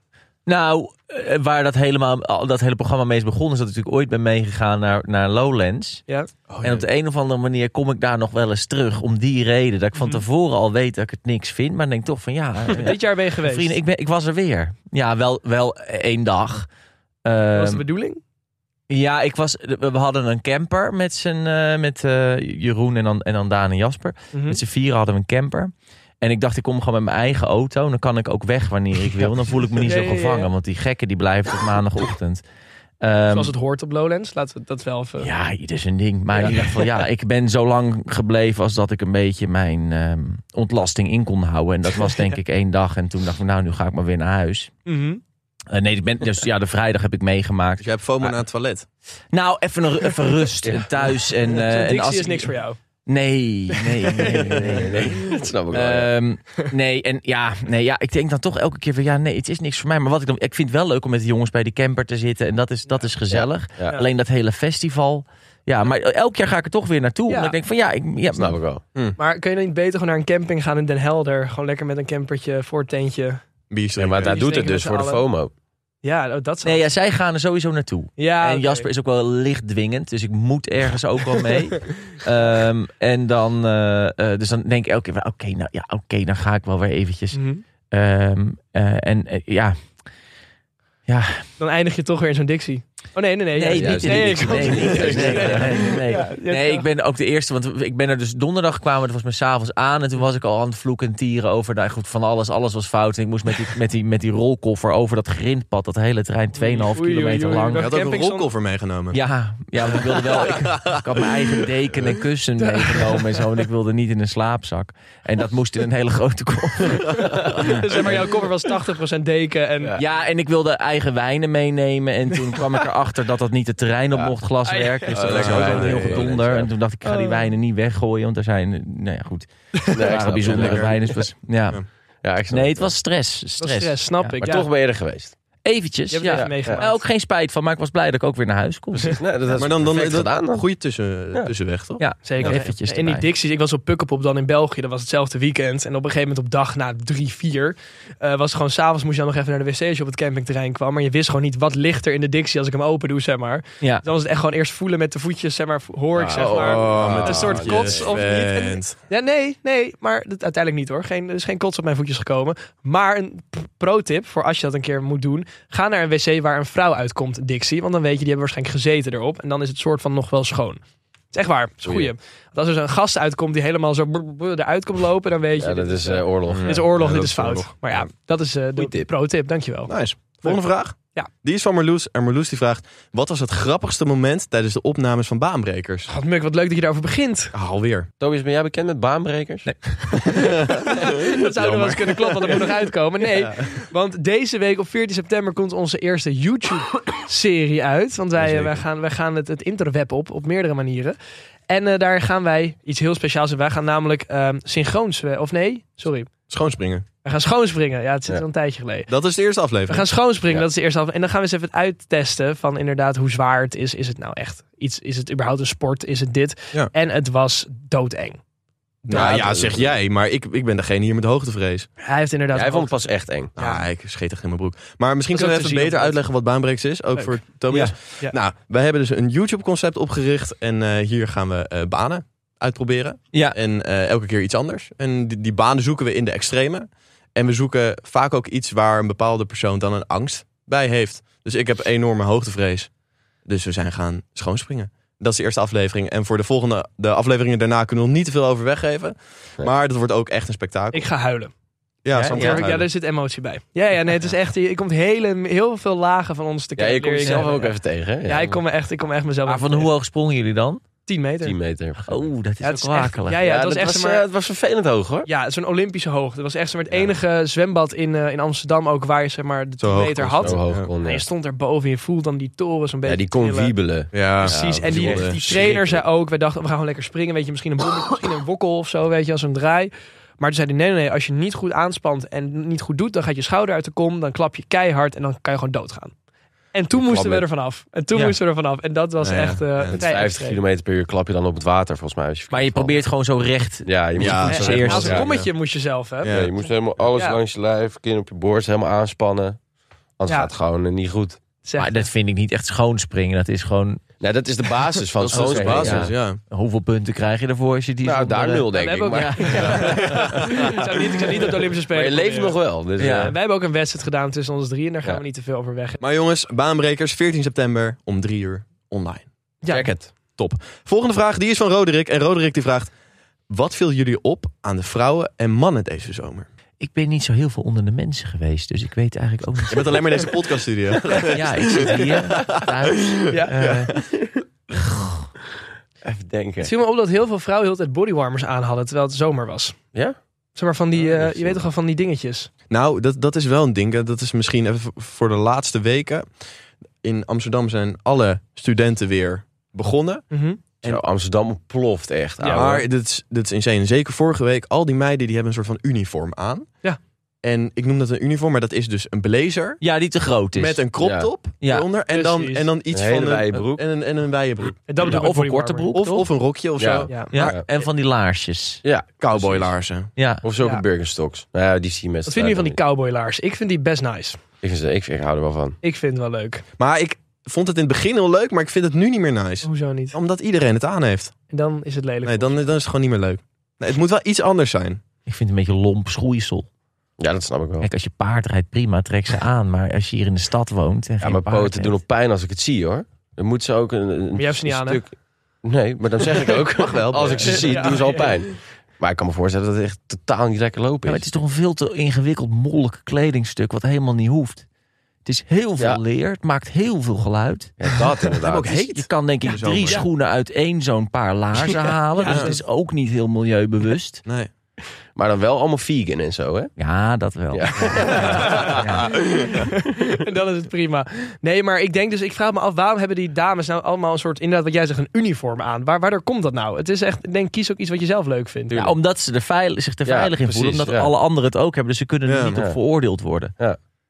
Speaker 4: Nou, eh, waar dat, helemaal, al dat hele programma meest begon... is dat ik natuurlijk ooit ben meegegaan naar, naar Lowlands.
Speaker 1: Ja.
Speaker 4: en op de een of andere manier kom ik daar nog wel eens terug. Om die reden dat ik van
Speaker 1: Mhm.
Speaker 4: tevoren al weet dat ik het niks vind. Maar dan denk ik toch van
Speaker 1: (laughs)
Speaker 4: ja, eh,
Speaker 1: Dit jaar ben je geweest.
Speaker 4: vrienden, ik, ben, ik was er weer. Ja, wel, wel één dag.
Speaker 1: Wat was
Speaker 4: Ehm,
Speaker 1: de bedoeling?
Speaker 4: Ja, ik was, we hadden een camper met, zijn, eh, met eh, Jeroen en dan, en dan Daan en Jasper.
Speaker 1: Mhm.
Speaker 4: Met z'n vieren hadden we een camper. En ik dacht, ik kom gewoon met mijn eigen auto. Dan kan ik ook weg wanneer ik wil. Dan voel ik me niet
Speaker 1: Ja,
Speaker 4: zo
Speaker 1: ja, ja.
Speaker 4: gevangen. Want die gekken die blijven tot maandagochtend. Ehm,
Speaker 1: Zoals het hoort op Lowlands. Laten we dat wel even...
Speaker 4: Ja, ieder zijn ding. Maar
Speaker 1: Ja.
Speaker 4: in ieder geval, ja, ik ben zo lang gebleven als dat ik een beetje mijn ehm, ontlasting in kon houden. En dat
Speaker 1: (laughs)
Speaker 4: was denk ik één dag. En toen dacht ik, nou, nu ga ik maar weer naar huis.
Speaker 1: Mhm.
Speaker 4: Eh, nee, ik ben, dus ja, de vrijdag heb ik meegemaakt.
Speaker 3: Dus jij hebt FOMO aan het toilet.
Speaker 4: Nou, even, een, even rust en thuis. En, eh,
Speaker 1: Zo'n
Speaker 4: en
Speaker 1: dictie
Speaker 4: als
Speaker 1: is niks voor jou.
Speaker 4: Nee, nee, nee, nee. nee.
Speaker 5: Dat snap ik wel. ja.
Speaker 4: Ehm, nee, en ja, nee, ja, ik denk dan toch elke keer van ja, nee, het is niks voor mij. Maar wat ik dan, ik vind het wel leuk om met de jongens bij die camper te zitten en dat is, dat is gezellig.
Speaker 5: Ja. Ja.
Speaker 4: Alleen dat hele festival, ja, maar elk jaar ga ik er toch weer naartoe.
Speaker 1: Ja.
Speaker 4: Omdat ik denk van ja, ik, ja
Speaker 5: Dat snap ik wel.
Speaker 1: Maar kun je dan niet beter gewoon naar een camping gaan in Den Helder? Gewoon lekker met een campertje, voortentje.
Speaker 3: Bier
Speaker 5: Ja, maar daar
Speaker 1: Die
Speaker 5: doet het
Speaker 1: steken
Speaker 5: dus
Speaker 1: met
Speaker 5: voor
Speaker 1: z'n
Speaker 5: de
Speaker 1: allen.
Speaker 5: FOMO.
Speaker 1: Ja, oh, dat zou...
Speaker 4: nee, ja, zij gaan er sowieso naartoe.
Speaker 1: ja,
Speaker 4: en
Speaker 1: oké.
Speaker 4: Jasper is ook wel licht dwingend, dus ik moet ergens ook wel mee. Ehm, en dan, eh, eh, dus dan denk ik elke keer, van, oké, nou ja, oké, dan ga ik wel weer eventjes.
Speaker 1: Mhm.
Speaker 4: Ehm, eh, en eh, ja,
Speaker 1: Dan eindig je toch weer in zo'n dictie. Oh nee, nee, nee.
Speaker 4: Nee,
Speaker 1: juist.
Speaker 4: niet in de
Speaker 1: nee,
Speaker 4: dictie.
Speaker 1: ik-
Speaker 4: Nee, niet in de dictie.
Speaker 1: Nee,
Speaker 4: Nee, nee, nee.
Speaker 1: Ja, je
Speaker 4: Nee,
Speaker 1: hebt-
Speaker 4: ik ben ook de eerste, want ik ben er dus donderdag kwamen, het was me s'avonds aan en toen was ik al aan het vloeken en tieren over, nou goed, van alles, alles was fout en ik moest met die, met die, met die rolkoffer over dat grindpad, dat hele terrein, 2,5
Speaker 1: Oei, oei,
Speaker 4: kilometer
Speaker 1: oei,
Speaker 4: lang.
Speaker 3: Je had ook een
Speaker 1: Camping zon-
Speaker 3: rolkoffer meegenomen.
Speaker 4: Ja, ja, want ik wilde wel, ik, ik had mijn eigen deken en kussen meegenomen en zo en ik wilde niet in een slaapzak. En dat moest in een hele grote koffer.
Speaker 1: Dus (laughs) zeg maar, jouw koffer was 80% deken en...
Speaker 5: Ja.
Speaker 4: Ja, en ik wilde eigen wijnen meenemen. En toen kwam ik erachter dat dat niet het terrein op
Speaker 5: Ja.
Speaker 4: mocht glaswerk. Dus dat
Speaker 5: Ja,
Speaker 4: was
Speaker 5: ja,
Speaker 4: ook
Speaker 5: ja,
Speaker 4: een heel
Speaker 5: ja, ja,
Speaker 4: gedonder.
Speaker 5: ja.
Speaker 4: En toen dacht ik, ik ga die
Speaker 1: Oh.
Speaker 4: wijnen niet weggooien. Want er zijn, eh, nou ja, goed.
Speaker 5: Nee,
Speaker 4: Er waren bijzondere
Speaker 3: lekker.
Speaker 4: wijnen. Dus, ja.
Speaker 5: Ja, ik snap
Speaker 4: Nee,
Speaker 5: het wel.
Speaker 4: het was stress. Stress,
Speaker 1: Dat was stress, snap
Speaker 4: Ja.
Speaker 1: ik.
Speaker 5: Maar
Speaker 1: Ja.
Speaker 5: toch ben je er geweest.
Speaker 4: Eventjes,
Speaker 1: Je hebt
Speaker 4: ja.
Speaker 1: het even meegemaakt.
Speaker 4: Eh, Ook geen spijt van, maar ik was blij dat ik ook weer naar huis kon.
Speaker 5: Nee, dat
Speaker 3: Maar dan, dan,
Speaker 5: perfect
Speaker 3: dan,
Speaker 5: gedaan dan.
Speaker 3: goede tussen, tussenweg, toch?
Speaker 4: Ja,
Speaker 1: Zeker.
Speaker 4: Eventjes
Speaker 1: in die
Speaker 4: erbij.
Speaker 1: dicties, ik was op Pukkelpop dan in België. Dat was hetzelfde weekend. En op een gegeven moment op dag na drie, vier... eh, was het gewoon s'avonds moest je dan nog even naar de wc als je op het campingterrein kwam. Maar je wist gewoon niet wat ligt er in de dictie als ik hem open doe, zeg maar.
Speaker 4: Ja.
Speaker 1: Dan was het echt gewoon eerst voelen met de voetjes, zeg maar. Hoor ik,
Speaker 3: Ah,
Speaker 1: zeg maar.
Speaker 3: oh, met
Speaker 1: een soort kots of niet. (laughs)
Speaker 3: niet.
Speaker 1: Ja, nee, nee, maar dat, uiteindelijk niet hoor. Geen, er is geen kots op mijn voetjes gekomen. Maar een p- pro-tip voor als je dat een keer moet doen: ga naar een wc waar een vrouw uitkomt, Dixie. Want dan weet je, die hebben waarschijnlijk gezeten erop. En dan is het soort van nog wel schoon. Het is echt waar, het is een goeie. Want als er zo'n gast uitkomt die helemaal zo brr, brr, brr eruit komt lopen, dan weet je.
Speaker 5: Ja, dat
Speaker 1: dit,
Speaker 5: is eh, oorlog.
Speaker 1: dit is oorlog,
Speaker 3: Ja, Nou.
Speaker 1: dit
Speaker 3: dat
Speaker 1: is
Speaker 3: is
Speaker 1: fout.
Speaker 3: oorlog.
Speaker 1: Maar ja, dat is eh, de
Speaker 5: tip.
Speaker 1: pro-tip, dankjewel.
Speaker 3: Nice. Volgende vraag.
Speaker 1: Ja.
Speaker 3: Die is van Marloes. En Marloes die vraagt, wat was het grappigste moment tijdens de opnames van Baanbrekers?
Speaker 1: God, Muk, wat leuk dat je daarover begint.
Speaker 3: Ah, alweer.
Speaker 5: Tobias, ben jij bekend met baanbrekers? Nee.
Speaker 1: (laughs) dat zou nog wel eens kunnen kloppen, want dat
Speaker 5: (laughs)
Speaker 1: moet nog uitkomen. Nee, want deze week op 14 september komt onze eerste YouTube-serie uit. Want wij, eh, wij gaan, wij gaan het, het interweb op, op meerdere manieren. En eh, daar gaan wij iets heel speciaals in. Wij gaan namelijk ehm synchroon zwe- Of nee, sorry.
Speaker 3: Schoonspringen.
Speaker 1: We gaan schoonspringen. Ja, het zit
Speaker 5: Ja.
Speaker 1: al een tijdje geleden.
Speaker 3: Dat is de eerste
Speaker 1: We
Speaker 3: aflevering.
Speaker 1: gaan schoonspringen,
Speaker 5: Ja.
Speaker 1: dat is de eerste half. En dan gaan we eens even het uittesten van inderdaad hoe zwaar het is. Is het nou echt iets? Is het überhaupt een sport? Is het dit?
Speaker 3: Ja.
Speaker 1: En het was doodeng.
Speaker 3: Nou ja, zeg jij. Maar ik, ik ben degene hier met hoogtevrees.
Speaker 1: Hij heeft inderdaad...
Speaker 5: Jij vond het pas echt eng.
Speaker 1: Ja.
Speaker 3: Ah, ik scheet echt in mijn broek. Maar misschien kunnen we
Speaker 1: Dat is ook te
Speaker 3: even
Speaker 1: zien op
Speaker 3: beter
Speaker 1: het-
Speaker 3: uitleggen wat Baanbrekers is. Ook
Speaker 1: Leuk.
Speaker 3: voor Tobias.
Speaker 1: Ja.
Speaker 3: Nou, wij hebben dus een YouTube-concept opgericht. En eh, hier gaan we eh, banen uitproberen.
Speaker 4: Ja.
Speaker 3: En eh, elke keer iets anders. En die, die banen zoeken we in de extreme. En we zoeken vaak ook iets waar een bepaalde persoon dan een angst bij heeft. Dus ik heb enorme hoogtevrees. Dus we zijn gaan schoonspringen. Dat is de eerste aflevering. En voor de volgende de afleveringen daarna kunnen we nog niet te veel over weggeven.
Speaker 5: Nee.
Speaker 3: Maar dat wordt ook echt een spektakel.
Speaker 1: Ik ga huilen.
Speaker 3: ja,
Speaker 1: Ja,
Speaker 3: Sam
Speaker 1: ja,
Speaker 3: gaat
Speaker 1: daar zit emotie bij. Ja, ja, nee, het is echt. Ik komt hele, heel veel lagen van ons te
Speaker 5: Ja,
Speaker 1: kennen.
Speaker 5: je komt
Speaker 1: Leer ik
Speaker 5: jezelf
Speaker 1: even.
Speaker 5: ook even tegen. hè?
Speaker 1: Ja, ik kom me echt, ik kom echt mezelf.
Speaker 4: Maar van hoe hoog sprongen jullie dan?
Speaker 1: 10 meter.
Speaker 5: 10 meter.
Speaker 4: Oh, dat is
Speaker 1: Ja, het is
Speaker 4: ook
Speaker 1: echt,
Speaker 4: wakelig.
Speaker 1: ja, ja, het was
Speaker 5: dat
Speaker 1: echt
Speaker 5: was,
Speaker 1: zeg maar-
Speaker 5: eh, het was vervelend hoog hoor.
Speaker 1: ja, zo'n Olympische hoogte. Dat was echt zeg maar, het enige zwembad in, eh, in Amsterdam ook waar je zeg maar de
Speaker 3: Zo
Speaker 1: 10
Speaker 3: hoog
Speaker 1: meter
Speaker 3: kon-
Speaker 1: had.
Speaker 5: Zo Oh, hoog
Speaker 3: Ja.
Speaker 5: kon,
Speaker 1: En
Speaker 5: ja.
Speaker 1: je stond daar boven en je voelt dan die toren zo'n beetje.
Speaker 5: Ja, die kon
Speaker 1: trillen.
Speaker 5: wiebelen.
Speaker 3: Ja,
Speaker 5: Precies,
Speaker 1: Precies, en die,
Speaker 5: worden
Speaker 1: die trainer zei
Speaker 5: schrikkelijk.
Speaker 1: ook, wij dachten we gaan gewoon lekker springen, weet je, misschien een bommetje, misschien een wokkel of zo, weet je, als een draai. Maar toen zei hij, nee, nee, nee, als je niet goed aanspant en niet goed doet, dan gaat je schouder uit de kom, dan klap je keihard en dan kan je gewoon doodgaan. En toen moesten we er vanaf. En toen
Speaker 4: Ja.
Speaker 1: moesten we er vanaf. En dat was
Speaker 3: Ja, ja.
Speaker 1: echt... eh,
Speaker 3: Ja,
Speaker 1: een
Speaker 5: Met
Speaker 1: tijdstrijd.
Speaker 5: 50 kilometer per uur klap je dan op het water volgens mij. Als je
Speaker 4: Maar je
Speaker 5: valt.
Speaker 4: probeert gewoon zo recht.
Speaker 5: Ja, je moet,
Speaker 3: Ja,
Speaker 5: ja,
Speaker 1: Ja,
Speaker 4: zo
Speaker 1: en
Speaker 4: eerst.
Speaker 1: als een
Speaker 5: Ja,
Speaker 1: kommetje moest je zelf, hè?
Speaker 3: Ja.
Speaker 5: je moest helemaal alles
Speaker 1: Ja.
Speaker 5: langs je lijf, kin op je borst, helemaal aanspannen. Anders
Speaker 1: Ja.
Speaker 5: gaat het gewoon eh, niet goed.
Speaker 1: Zeg.
Speaker 4: Maar dat vind ik niet echt schoonspringen. Dat is gewoon...
Speaker 5: Nou, dat is de basis
Speaker 3: (laughs)
Speaker 5: van
Speaker 3: dat is onze
Speaker 5: schoonspringen,
Speaker 3: basis,
Speaker 5: ja.
Speaker 3: ja.
Speaker 4: Hoeveel punten krijg je ervoor als je die...
Speaker 5: Nou,
Speaker 4: zonder-
Speaker 5: daar nul
Speaker 1: Ja, (laughs)
Speaker 5: denk
Speaker 1: we
Speaker 5: ik.
Speaker 1: hebben ook-
Speaker 5: Maar,
Speaker 1: ik, zou niet, ik zou niet op de Olympische Spelen
Speaker 5: maar je leeft nog
Speaker 1: proberen.
Speaker 5: wel. Dus,
Speaker 4: Ja.
Speaker 5: eh,
Speaker 1: En wij hebben ook een wedstrijd gedaan tussen ons drie en daar gaan
Speaker 5: Ja.
Speaker 1: we niet te veel over weg.
Speaker 3: Maar jongens, baanbrekers 14 september om 3 uur online.
Speaker 1: Ja.
Speaker 5: check het.
Speaker 3: Volgende vraag, die is van Roderick. En Roderick die vraagt, wat viel jullie op aan de vrouwen en mannen deze zomer?
Speaker 4: Ik ben niet zo heel veel onder de mensen geweest. Dus ik weet eigenlijk ook
Speaker 3: Je
Speaker 4: niet...
Speaker 3: bent alleen maar in deze
Speaker 1: (laughs)
Speaker 3: podcaststudio.
Speaker 4: Ja, ik zit hier, thuis.
Speaker 1: Ja.
Speaker 4: Eh,
Speaker 5: Even denken.
Speaker 1: Het viel me op dat heel veel vrouwen heel de tijd bodywarmers aan hadden terwijl het zomer was.
Speaker 5: Ja?
Speaker 1: Zeg maar van die,
Speaker 5: Ja,
Speaker 1: eh,
Speaker 5: dat is
Speaker 1: je weet toch wel van die dingetjes.
Speaker 3: Nou, dat, dat is wel een ding. Dat is misschien even voor de laatste weken. In Amsterdam zijn alle studenten weer begonnen.
Speaker 1: Mhm.
Speaker 5: Zo, Amsterdam ploft echt.
Speaker 1: Ja,
Speaker 5: ouwe.
Speaker 3: maar dit is, dit is insane. Zeker vorige week, al die meiden die hebben een soort van uniform aan.
Speaker 1: Ja.
Speaker 3: En ik noem dat een uniform, maar dat is dus een blazer.
Speaker 4: ja, die te groot is.
Speaker 3: Met een crop
Speaker 5: Ja.
Speaker 3: top
Speaker 4: Ja.
Speaker 3: eronder. En dan,
Speaker 1: Precies.
Speaker 3: en dan iets
Speaker 5: Een hele
Speaker 3: van een
Speaker 5: wijde broek.
Speaker 3: En een, en een wijde broek.
Speaker 1: En dat
Speaker 4: Ja,
Speaker 1: bedoel ik
Speaker 4: of een
Speaker 1: met
Speaker 4: korte
Speaker 1: bodywarmer.
Speaker 4: broek.
Speaker 3: Of, of
Speaker 4: toch?
Speaker 3: een rokje of
Speaker 5: Ja.
Speaker 3: zo.
Speaker 1: Ja.
Speaker 4: ja,
Speaker 5: Ja.
Speaker 4: En van die laarsjes.
Speaker 5: Ja,
Speaker 3: Cowboylaarzen.
Speaker 4: Ja.
Speaker 5: Of zulke
Speaker 1: Ja.
Speaker 5: Birkenstocks. Nou ja, die zie je met
Speaker 1: Wat vinden jullie van die cowboylaars? Ik vind die best nice.
Speaker 5: Ik, vind ze- ik, ik hou er wel van.
Speaker 1: Ik vind het wel leuk.
Speaker 3: Maar ik vond het in het begin heel leuk, maar ik vind het nu niet meer nice.
Speaker 1: Hoezo niet?
Speaker 3: Omdat iedereen het aan heeft.
Speaker 1: En dan is het lelijk.
Speaker 3: Nee, dan, dan is het gewoon niet meer leuk. Nee, het moet wel iets anders zijn.
Speaker 4: Ik vind het een beetje lomp schoeisel.
Speaker 5: Ja, dat snap ik wel.
Speaker 4: Kijk, als je paard rijdt, prima, trek ze aan. Maar als je hier in de stad woont en
Speaker 5: Ja,
Speaker 4: geen
Speaker 5: mijn
Speaker 4: paard
Speaker 5: poten doen
Speaker 4: hebt-
Speaker 5: op pijn als ik het zie hoor. Dan moet ze ook een, een
Speaker 1: jij hebt ze niet aan, hè?
Speaker 5: stuk... Nee, maar dan zeg ik ook.
Speaker 3: wel,
Speaker 5: als ik ze zie,
Speaker 1: Ja.
Speaker 5: doen ze al pijn. Maar ik kan me voorstellen dat het echt totaal niet lekker
Speaker 4: Ja,
Speaker 5: lopen
Speaker 4: maar
Speaker 5: is.
Speaker 4: het is toch een veel te ingewikkeld, mollig kledingstuk wat helemaal niet hoeft. Het is heel veel
Speaker 5: Ja.
Speaker 4: leer, het maakt heel veel geluid.
Speaker 5: Ja, dat inderdaad.
Speaker 4: Het is- Je kan denk ik
Speaker 3: Ja, zo,
Speaker 4: drie
Speaker 3: maar.
Speaker 4: schoenen uit één zo'n paar
Speaker 5: (laughs)
Speaker 4: laarzen halen. Dus het is ook niet heel milieubewust.
Speaker 3: Nee.
Speaker 5: Maar dan wel allemaal vegan en zo, hè?
Speaker 4: Ja, dat wel.
Speaker 5: Ja. (laughs)
Speaker 4: Ja.
Speaker 1: (laughs) En dan is het prima. Nee, maar ik denk dus, ik vraag me af, waarom hebben die dames nou allemaal een soort, inderdaad wat jij zegt, een uniform aan? Waar, waardoor komt dat nou? Het is echt, ik denk, kies ook iets wat je zelf leuk vindt.
Speaker 4: Ja, omdat ze er veil- zich er
Speaker 5: Ja,
Speaker 4: veilig in voelen.
Speaker 5: precies,
Speaker 4: Omdat
Speaker 5: ja.
Speaker 4: alle anderen het ook hebben. Dus ze kunnen er
Speaker 3: Ja.
Speaker 4: niet op
Speaker 5: Ja.
Speaker 4: veroordeeld worden.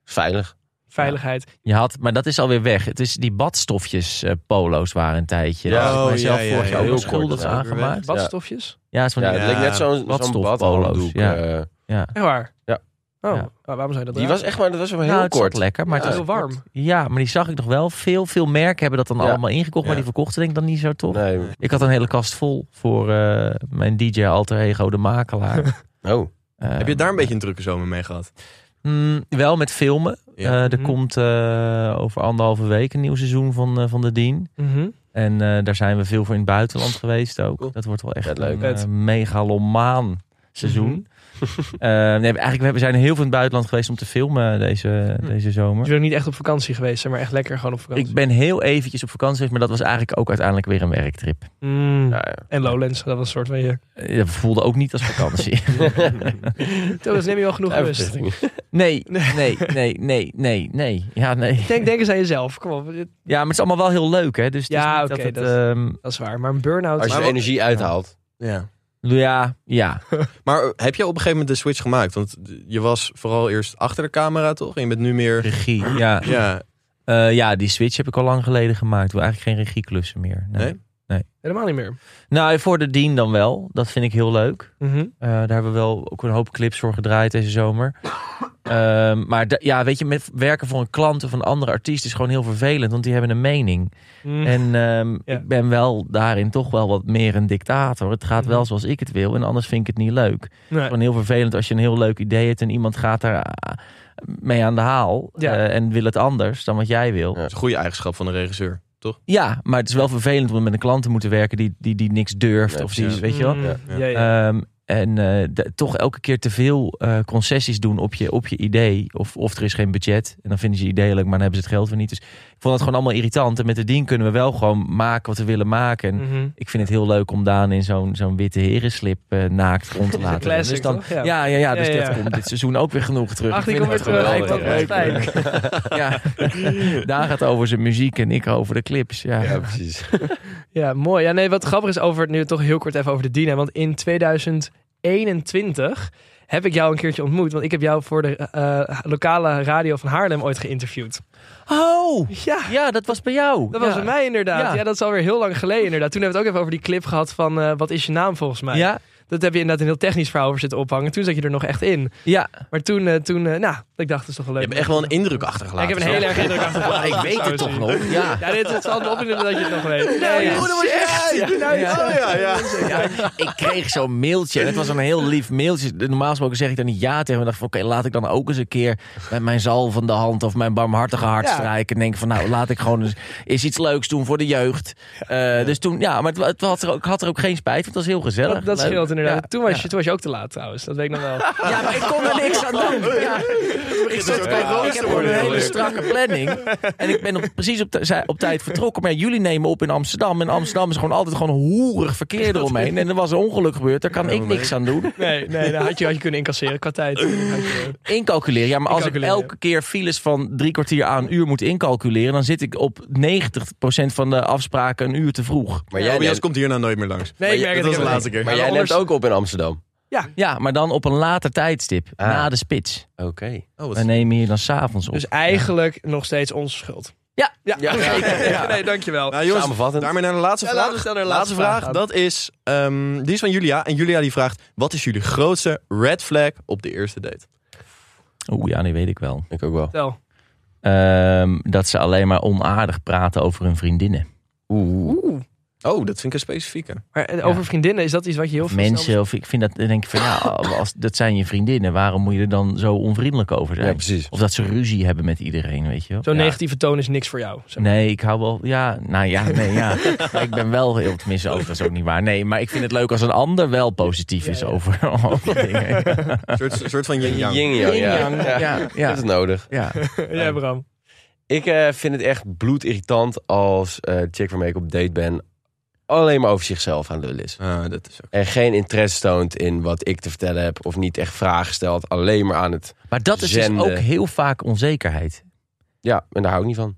Speaker 5: Veilig.
Speaker 1: Veiligheid.
Speaker 4: Je had, maar dat is alweer weg. Het is die badstofjes eh, polo's waren een tijdje.
Speaker 5: Ja,
Speaker 4: Daar heb ik
Speaker 3: oh,
Speaker 4: mijzelf
Speaker 3: ja, ja,
Speaker 4: vorig
Speaker 3: ja,
Speaker 4: jaar
Speaker 5: heel
Speaker 4: ook
Speaker 5: kort,
Speaker 4: schuldig
Speaker 5: ja.
Speaker 4: aan gemaakt.
Speaker 1: Badstofjes?
Speaker 4: Ja, het is van
Speaker 5: Ja,
Speaker 4: die-
Speaker 5: het leek net zo'n zo'n
Speaker 4: Badstof-
Speaker 5: badhanddoek.
Speaker 4: polo's,
Speaker 5: eh.
Speaker 4: ja.
Speaker 1: Echt waar?
Speaker 5: Ja.
Speaker 1: Oh,
Speaker 4: Ja.
Speaker 1: waarom zou je dat
Speaker 5: die
Speaker 1: dragen?
Speaker 5: was echt maar, dat was wel
Speaker 4: Nou,
Speaker 5: heel
Speaker 4: het zat
Speaker 5: kort.
Speaker 4: lekker, maar
Speaker 5: Ja.
Speaker 4: het
Speaker 1: heel
Speaker 4: was
Speaker 1: warm.
Speaker 4: Ja, maar die zag ik nog wel. Veel, veel merken hebben dat dan
Speaker 5: Ja.
Speaker 4: allemaal ingekocht, maar
Speaker 3: Ja.
Speaker 4: die verkochten denk ik dan niet zo toch.
Speaker 5: Nee.
Speaker 4: Ik had een hele kast vol voor eh, mijn DJ alter ego, de makelaar.
Speaker 5: (laughs)
Speaker 4: Ehm,
Speaker 5: Oh,
Speaker 3: Heb je daar een beetje een drukke zomer mee gehad?
Speaker 4: Mm, wel met filmen.
Speaker 3: Ja.
Speaker 4: Eh, er
Speaker 1: Mhm.
Speaker 4: komt eh, over anderhalve week een nieuw seizoen van, eh, van de Dien.
Speaker 1: Mhm.
Speaker 4: En eh, daar zijn we veel voor in het buitenland geweest ook.
Speaker 3: Cool.
Speaker 4: Dat wordt wel echt
Speaker 5: Vet leuk.
Speaker 4: een eh, megalomaan eh, seizoen. (laughs) Eh, nee, eigenlijk we hebben- zijn heel veel in het buitenland geweest om te filmen deze, deze zomer.
Speaker 1: Dus we zijn niet echt op vakantie geweest, zijn, maar echt lekker gewoon op vakantie.
Speaker 4: Ik ben heel eventjes op vakantie geweest, maar dat was eigenlijk ook uiteindelijk weer een werktrip.
Speaker 1: Mm.
Speaker 5: Ja, ja.
Speaker 1: En Lowlands, dat was een soort van je.
Speaker 4: Eh, Dat voelde ook niet als (laughs) vakantie.
Speaker 1: Thomas, neem je wel genoeg rust.
Speaker 5: Verplichtingen.
Speaker 4: Nee, nee, nee, nee, nee, nee. Ja, nee.
Speaker 1: Denk, denk eens aan jezelf. Kom op, dit-
Speaker 4: Ja, maar het is allemaal wel heel leuk, hè? Dus het is
Speaker 1: Ja,
Speaker 4: niet
Speaker 1: oké,
Speaker 4: dat het...
Speaker 1: dat-
Speaker 4: ehm,
Speaker 1: dat is waar. Maar een burn-out.
Speaker 5: Als je
Speaker 1: Maar
Speaker 5: de
Speaker 1: wat-
Speaker 5: energie uithaalt.
Speaker 3: Ja.
Speaker 4: ja, (laughs) ja.
Speaker 3: Maar eh, heb je op een gegeven moment de switch gemaakt? Want je was vooral eerst achter de camera, toch? En je bent nu meer...
Speaker 4: Regie, ja.
Speaker 3: Ja,
Speaker 4: Eh, ja, die switch heb ik al lang geleden gemaakt. Ik wil eigenlijk geen regieklussen meer. Nee.
Speaker 3: Nee?
Speaker 1: Helemaal niet meer.
Speaker 4: Nou, voor de dien dan wel. Dat vind ik heel leuk.
Speaker 1: Mhm.
Speaker 4: Eh, daar hebben we wel ook een hoop clips voor gedraaid deze zomer. (coughs) Ehm, maar da- ja, weet je, met werken voor een klant of een andere artiest is gewoon heel vervelend, want die hebben een mening.
Speaker 1: Mm.
Speaker 4: En ehm,
Speaker 1: (laughs) Ja.
Speaker 4: ik ben wel daarin toch wel wat meer een dictator. Het gaat wel
Speaker 1: Mhm.
Speaker 4: zoals ik het wil en anders vind ik het niet leuk.
Speaker 1: Nee.
Speaker 4: Gewoon heel vervelend als je een heel leuk idee hebt en iemand gaat daar ah, mee aan de haal
Speaker 1: Ja.
Speaker 4: eh, en wil het anders dan wat jij wil.
Speaker 3: dat is een goede eigenschap van een regisseur.
Speaker 4: Ja, maar het is wel vervelend om met een klant te moeten werken die, die, die niks durft
Speaker 5: Ja,
Speaker 4: of die,
Speaker 5: precies.
Speaker 4: weet je wel.
Speaker 1: Mm.
Speaker 3: Ja, ja.
Speaker 1: Ja, ja.
Speaker 4: Ehm, en eh, de- toch elke keer te veel eh, concessies doen op je, op je idee. Of, of er is geen budget. En dan vinden ze je idee leuk, maar dan hebben ze het geld weer niet. Dus ik vond dat gewoon allemaal irritant. En met de dien kunnen we wel gewoon maken wat we willen maken. En
Speaker 1: Mhm.
Speaker 4: ik vind het heel leuk om Daan in zo'n zo'n witte herenslip eh, naakt
Speaker 1: (laughs)
Speaker 4: rond te laten. rennen.
Speaker 1: Classic,
Speaker 4: dus dan,
Speaker 1: toch?
Speaker 4: ja.
Speaker 1: Ja.
Speaker 4: Ja, ja, dus
Speaker 1: Ja, ja,
Speaker 4: dat
Speaker 1: ja.
Speaker 4: komt dit seizoen ook weer genoeg terug.
Speaker 1: Ach,
Speaker 4: Ik
Speaker 1: die
Speaker 4: vind
Speaker 1: komt weer
Speaker 4: het
Speaker 1: terug.
Speaker 4: geweldig.
Speaker 1: Dat is fijn.
Speaker 4: Ja. (laughs) Daan gaat over zijn muziek en ik over de clips. Ja.
Speaker 5: Ja, precies.
Speaker 1: Ja, mooi. Ja, nee, wat grappig is over nu toch heel kort even over de Dina. Want in 2021 heb ik jou een keertje ontmoet. Want ik heb jou voor de eh, lokale radio van Haarlem ooit geïnterviewd.
Speaker 4: Oh,
Speaker 1: Ja,
Speaker 4: ja, dat was bij jou.
Speaker 1: dat was
Speaker 4: Ja.
Speaker 1: bij mij inderdaad.
Speaker 4: Ja.
Speaker 1: Ja. dat is alweer heel lang geleden inderdaad. Toen hebben we het ook even over die clip gehad van eh, wat is je naam volgens mij.
Speaker 4: Ja,
Speaker 1: Dat heb je inderdaad een heel technisch verhaal over zitten ophangen. Toen zat je er nog echt in.
Speaker 4: ja.
Speaker 1: Maar toen, eh, toen eh, nou, ik dacht dat is toch wel
Speaker 3: Je
Speaker 1: leuk.
Speaker 3: hebt echt wel een indruk achtergelaten.
Speaker 1: ik heb een hele erg indruk achtergelaten.
Speaker 4: Ik weet het toch nog. Ja.
Speaker 1: (laughs) Ja, dit is altijd opnieuw dat je het nog weet.
Speaker 4: Nou,
Speaker 1: ja.
Speaker 4: joh, dat was jij.
Speaker 1: Nou, ja.
Speaker 3: Oh, ja, ja.
Speaker 4: Ja, ik kreeg zo'n mailtje. En het was een heel lief mailtje. Normaal gesproken zeg ik dan niet ja tegen. Maar ik dacht van, oké, laat ik dan ook eens een keer met mijn zalvende hand of mijn barmhartige hart
Speaker 1: Ja.
Speaker 4: strijken. En denk van, nou, laat ik gewoon eens, eens iets leuks doen voor de jeugd. Eh, Dus toen, ja, maar het, het had er ook, ik had er ook geen spijt. van. Het was heel gezellig.
Speaker 1: Dat, dat
Speaker 4: Leuk.
Speaker 1: scheelt inderdaad.
Speaker 4: Ja.
Speaker 1: toen, was je, toen was je ook te laat trouwens. Dat weet ik nog wel.
Speaker 4: Ja, maar ik kon er niks aan doen. Ja. Ik, zat, ik heb gewoon een hele strakke planning. En ik ben op, precies op, tij- op tijd vertrokken. Maar ja, jullie nemen op in Amsterdam. En Amsterdam is gewoon altijd gewoon hoerig verkeer eromheen. En er was een ongeluk gebeurd. Daar kan ik niks aan doen.
Speaker 1: Nee, nee, dat had je, had je kunnen incasseren qua tijd. Had je-
Speaker 4: Incalculeren. Ja, maar als ik
Speaker 1: Incalculeren.
Speaker 4: elke keer files van drie kwartier aan een uur moet incalculeren... dan zit ik op 90% van de afspraken een uur te vroeg.
Speaker 5: Maar jij,
Speaker 3: Tobias
Speaker 5: neemt,
Speaker 3: komt hier nou nooit meer langs.
Speaker 1: Nee, ik
Speaker 3: Maar je-
Speaker 1: merk
Speaker 3: Dat
Speaker 1: het, ik
Speaker 3: was de
Speaker 1: heb
Speaker 3: laatste keer.
Speaker 5: maar jij neemt ook op in Amsterdam.
Speaker 4: Ja, maar dan op een later tijdstip.
Speaker 5: Ah.
Speaker 4: Na de spits.
Speaker 5: Oké.
Speaker 3: Oh,
Speaker 4: We
Speaker 3: wat-
Speaker 4: nemen hier dan s'avonds op.
Speaker 1: Dus eigenlijk nog steeds onze schuld.
Speaker 4: Ja.
Speaker 1: ja.
Speaker 5: Ja.
Speaker 1: ja. (laughs) Nee, dankjewel.
Speaker 3: Nou jongens,
Speaker 5: Samenvattend.
Speaker 3: daarmee naar de laatste
Speaker 1: Ja,
Speaker 3: vraag.
Speaker 1: laten we snel naar de
Speaker 3: laatste,
Speaker 1: laatste
Speaker 3: vraag,
Speaker 1: vraag gaan.
Speaker 3: dat is, ehm, die is van Julia. En Julia die vraagt, wat is jullie grootste red flag op de eerste date?
Speaker 4: Oeh, ja, die weet ik wel.
Speaker 5: Ik ook wel.
Speaker 1: Vertel.
Speaker 4: Ehm, dat ze alleen maar onaardig praten over hun vriendinnen.
Speaker 5: Oeh.
Speaker 3: Oh, dat vind ik een specifieke.
Speaker 1: Maar eh, over vriendinnen, is dat iets wat je heel veel snel-
Speaker 4: Mensen, of ik vind dat, dan denk ik van
Speaker 1: (laughs)
Speaker 4: ja, als, dat zijn je vriendinnen, waarom moet je er dan zo onvriendelijk over zijn?
Speaker 5: Ja, precies.
Speaker 4: Of dat ze ruzie hebben met iedereen, weet je wel.
Speaker 1: Zo'n
Speaker 4: Ja.
Speaker 1: negatieve toon is niks voor jou. zeg maar.
Speaker 4: Nee, ik hou wel. Ja, nou ja, nee, (laughs) ja. Maar ik ben wel heel tenminste over. Dat is ook niet waar. Nee, maar ik vind het leuk als een ander wel positief is over, (laughs) over dingen.
Speaker 3: Een soort, soort van yin-yang.
Speaker 5: Yin yang, ja. Ja.
Speaker 4: ja,
Speaker 5: Dat is nodig.
Speaker 4: ja.
Speaker 1: Jij, Bram.
Speaker 5: Ik eh, vind het echt bloedirritant als eh chick waarmee ik op date ben... alleen maar over zichzelf aan het lullen is.
Speaker 3: Ah, dat is ook.
Speaker 5: En geen interesse toont in wat ik te vertellen heb. Of niet echt vragen stelt. Alleen maar aan het...
Speaker 4: Maar dat is dus
Speaker 5: Zenden.
Speaker 4: ook heel vaak onzekerheid.
Speaker 5: Ja, en daar hou ik niet van.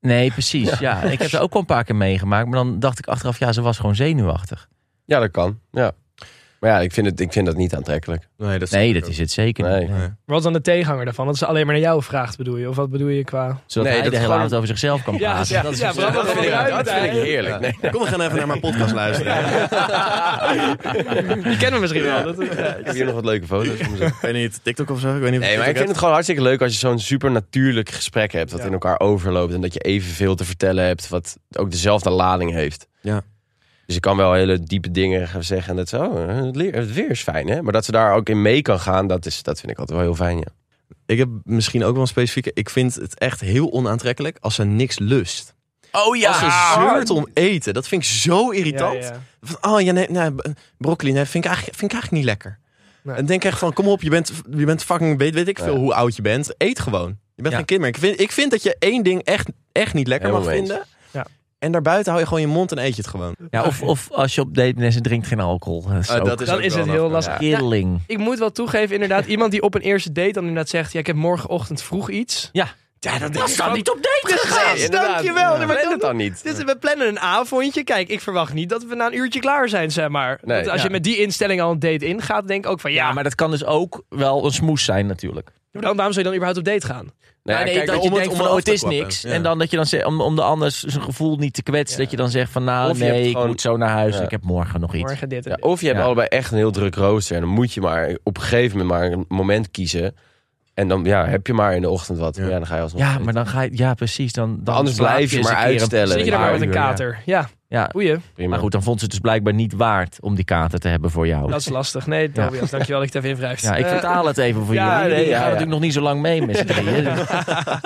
Speaker 4: Nee, precies. Ja. ik heb er ook wel een paar keer meegemaakt. Maar dan dacht ik achteraf, ja, ze was gewoon zenuwachtig.
Speaker 5: Ja, dat kan. Ja. Maar ja, ik vind, het, ik vind dat niet aantrekkelijk.
Speaker 3: Nee, dat,
Speaker 4: Nee, dat is het zeker
Speaker 5: Nee.
Speaker 4: niet. Nee.
Speaker 3: Nee.
Speaker 1: Wat is dan de tegenhanger daarvan? Dat ze alleen maar naar jou vraagt, bedoel je? Of wat bedoel je qua...
Speaker 4: Zodat
Speaker 5: Nee, dat
Speaker 4: hij de hele
Speaker 5: gewoon-
Speaker 4: avond over zichzelf kan
Speaker 1: Ja,
Speaker 4: praten.
Speaker 1: ja,
Speaker 4: Ah, dat is
Speaker 1: ja,
Speaker 4: het.
Speaker 1: Bram, dat vind ik- dat vind ik
Speaker 5: heerlijk. Nee.
Speaker 3: Kom, we gaan even naar mijn podcast luisteren.
Speaker 1: Die kennen we misschien wel. Dat, ja.
Speaker 5: Ik heb hier nog wat leuke foto's van mezelf.
Speaker 3: Ik weet niet, TikTok of zo? Ik weet niet of
Speaker 5: Nee, maar ik vind het gewoon hartstikke leuk als je zo'n supernatuurlijk gesprek hebt. Dat
Speaker 1: Ja.
Speaker 5: in elkaar overloopt en dat je evenveel te vertellen hebt. Wat ook dezelfde lading heeft.
Speaker 3: Ja.
Speaker 5: Dus ik kan wel hele diepe dingen gaan zeggen. En dat zo, het leer- het weer is fijn hè. Maar dat ze daar ook in mee kan gaan, dat, is, dat vind ik altijd wel heel fijn ja.
Speaker 3: Ik heb misschien ook wel een specifieke. Ik vind het echt heel onaantrekkelijk als ze niks lust.
Speaker 4: Oh ja!
Speaker 3: Als ze zeurt om eten. Dat vind ik zo irritant.
Speaker 1: Ja, ja.
Speaker 3: nou, Van, oh ja, nee, nee, b- broccoli nee, vind, ik eigenlijk, vind ik eigenlijk niet lekker. En denk echt van, kom op, je bent, je bent fucking, weet, weet ik veel hoe oud je bent. Eet gewoon. Je bent
Speaker 4: Ja.
Speaker 3: geen kind meer. Ik vind, ik vind dat je één ding echt, echt niet lekker
Speaker 5: Helemaal
Speaker 3: mag
Speaker 5: mee eens.
Speaker 3: vinden.
Speaker 1: Ja.
Speaker 3: En daarbuiten hou je gewoon je mond en eet je het gewoon.
Speaker 4: Ja, of, of als je op date bent en drinkt geen alcohol. Ah, Dat is
Speaker 3: Eh,
Speaker 4: ook
Speaker 3: dat
Speaker 1: dan
Speaker 3: ook
Speaker 1: is
Speaker 3: wel
Speaker 1: het
Speaker 3: een
Speaker 1: heel
Speaker 3: afknapper.
Speaker 1: lastig.
Speaker 4: killing.
Speaker 1: Ik moet wel toegeven, inderdaad, iemand die op een eerste date dan inderdaad zegt... Ja, ik heb morgenochtend vroeg iets.
Speaker 4: Ja.
Speaker 1: Ja, dat
Speaker 4: Dat
Speaker 1: is
Speaker 4: kan
Speaker 1: gewoon-
Speaker 4: niet op date gegaan.
Speaker 1: Precies, dankjewel. Nee, maar
Speaker 5: Maar
Speaker 1: dan-
Speaker 5: dat dan niet.
Speaker 1: Dit is- we plannen een avondje. Kijk, ik verwacht niet dat we na een uurtje klaar zijn, zeg maar.
Speaker 5: Nee.
Speaker 1: Want als je
Speaker 4: Ja.
Speaker 1: met die instelling al een date ingaat, denk ik ook van... Ja,
Speaker 4: Ja, maar dat kan dus ook wel een smoes zijn natuurlijk.
Speaker 1: maar dan, waarom zou je dan überhaupt op date gaan?
Speaker 5: Nou ja,
Speaker 4: nee,
Speaker 5: kijk,
Speaker 4: dat
Speaker 3: om
Speaker 4: je
Speaker 3: het-
Speaker 4: denkt
Speaker 3: om
Speaker 4: van,
Speaker 3: het
Speaker 4: oh,
Speaker 3: af
Speaker 4: het
Speaker 3: te
Speaker 4: is
Speaker 3: klappen.
Speaker 4: niks.
Speaker 3: Ja.
Speaker 4: En dan dat je dan zegt, om, om de ander zijn gevoel niet te kwetsen, dat je dan zegt van, nou
Speaker 5: Of je hebt
Speaker 4: nee, ik
Speaker 5: gewoon-
Speaker 4: moet zo naar huis,
Speaker 5: Ja.
Speaker 4: ik heb morgen nog iets.
Speaker 1: Morgen dit en
Speaker 5: Ja,
Speaker 1: dit.
Speaker 5: of je hebt
Speaker 4: Ja.
Speaker 5: allebei echt een heel druk rooster. En dan moet je maar op een gegeven moment maar een moment kiezen. En dan ja, heb je maar in de ochtend wat.
Speaker 3: Ja.
Speaker 5: Ja, dan ga je alsnog.
Speaker 4: Ja, maar dan ga je, ja precies, dan, dan
Speaker 5: Anders
Speaker 4: slaap
Speaker 5: blijf je
Speaker 4: eens
Speaker 5: maar
Speaker 4: een keer een-
Speaker 5: uitstellen.
Speaker 1: Zit je daar maar met
Speaker 5: Ja,
Speaker 1: een kater. Ja,
Speaker 4: Ja,
Speaker 1: boeien.
Speaker 5: Prima.
Speaker 4: maar goed, dan vond ze het dus blijkbaar niet waard om die kater te hebben voor jou.
Speaker 1: Dat is lastig. Nee, Tobias, dankjewel dat je het even invrijft.
Speaker 4: Ja, ik
Speaker 1: Eh,
Speaker 4: vertaal het even voor
Speaker 1: ja,
Speaker 4: jullie.
Speaker 1: nee,
Speaker 5: ja,
Speaker 4: jullie gaan
Speaker 5: ja.
Speaker 4: natuurlijk nog niet zo lang mee met z'n drieën.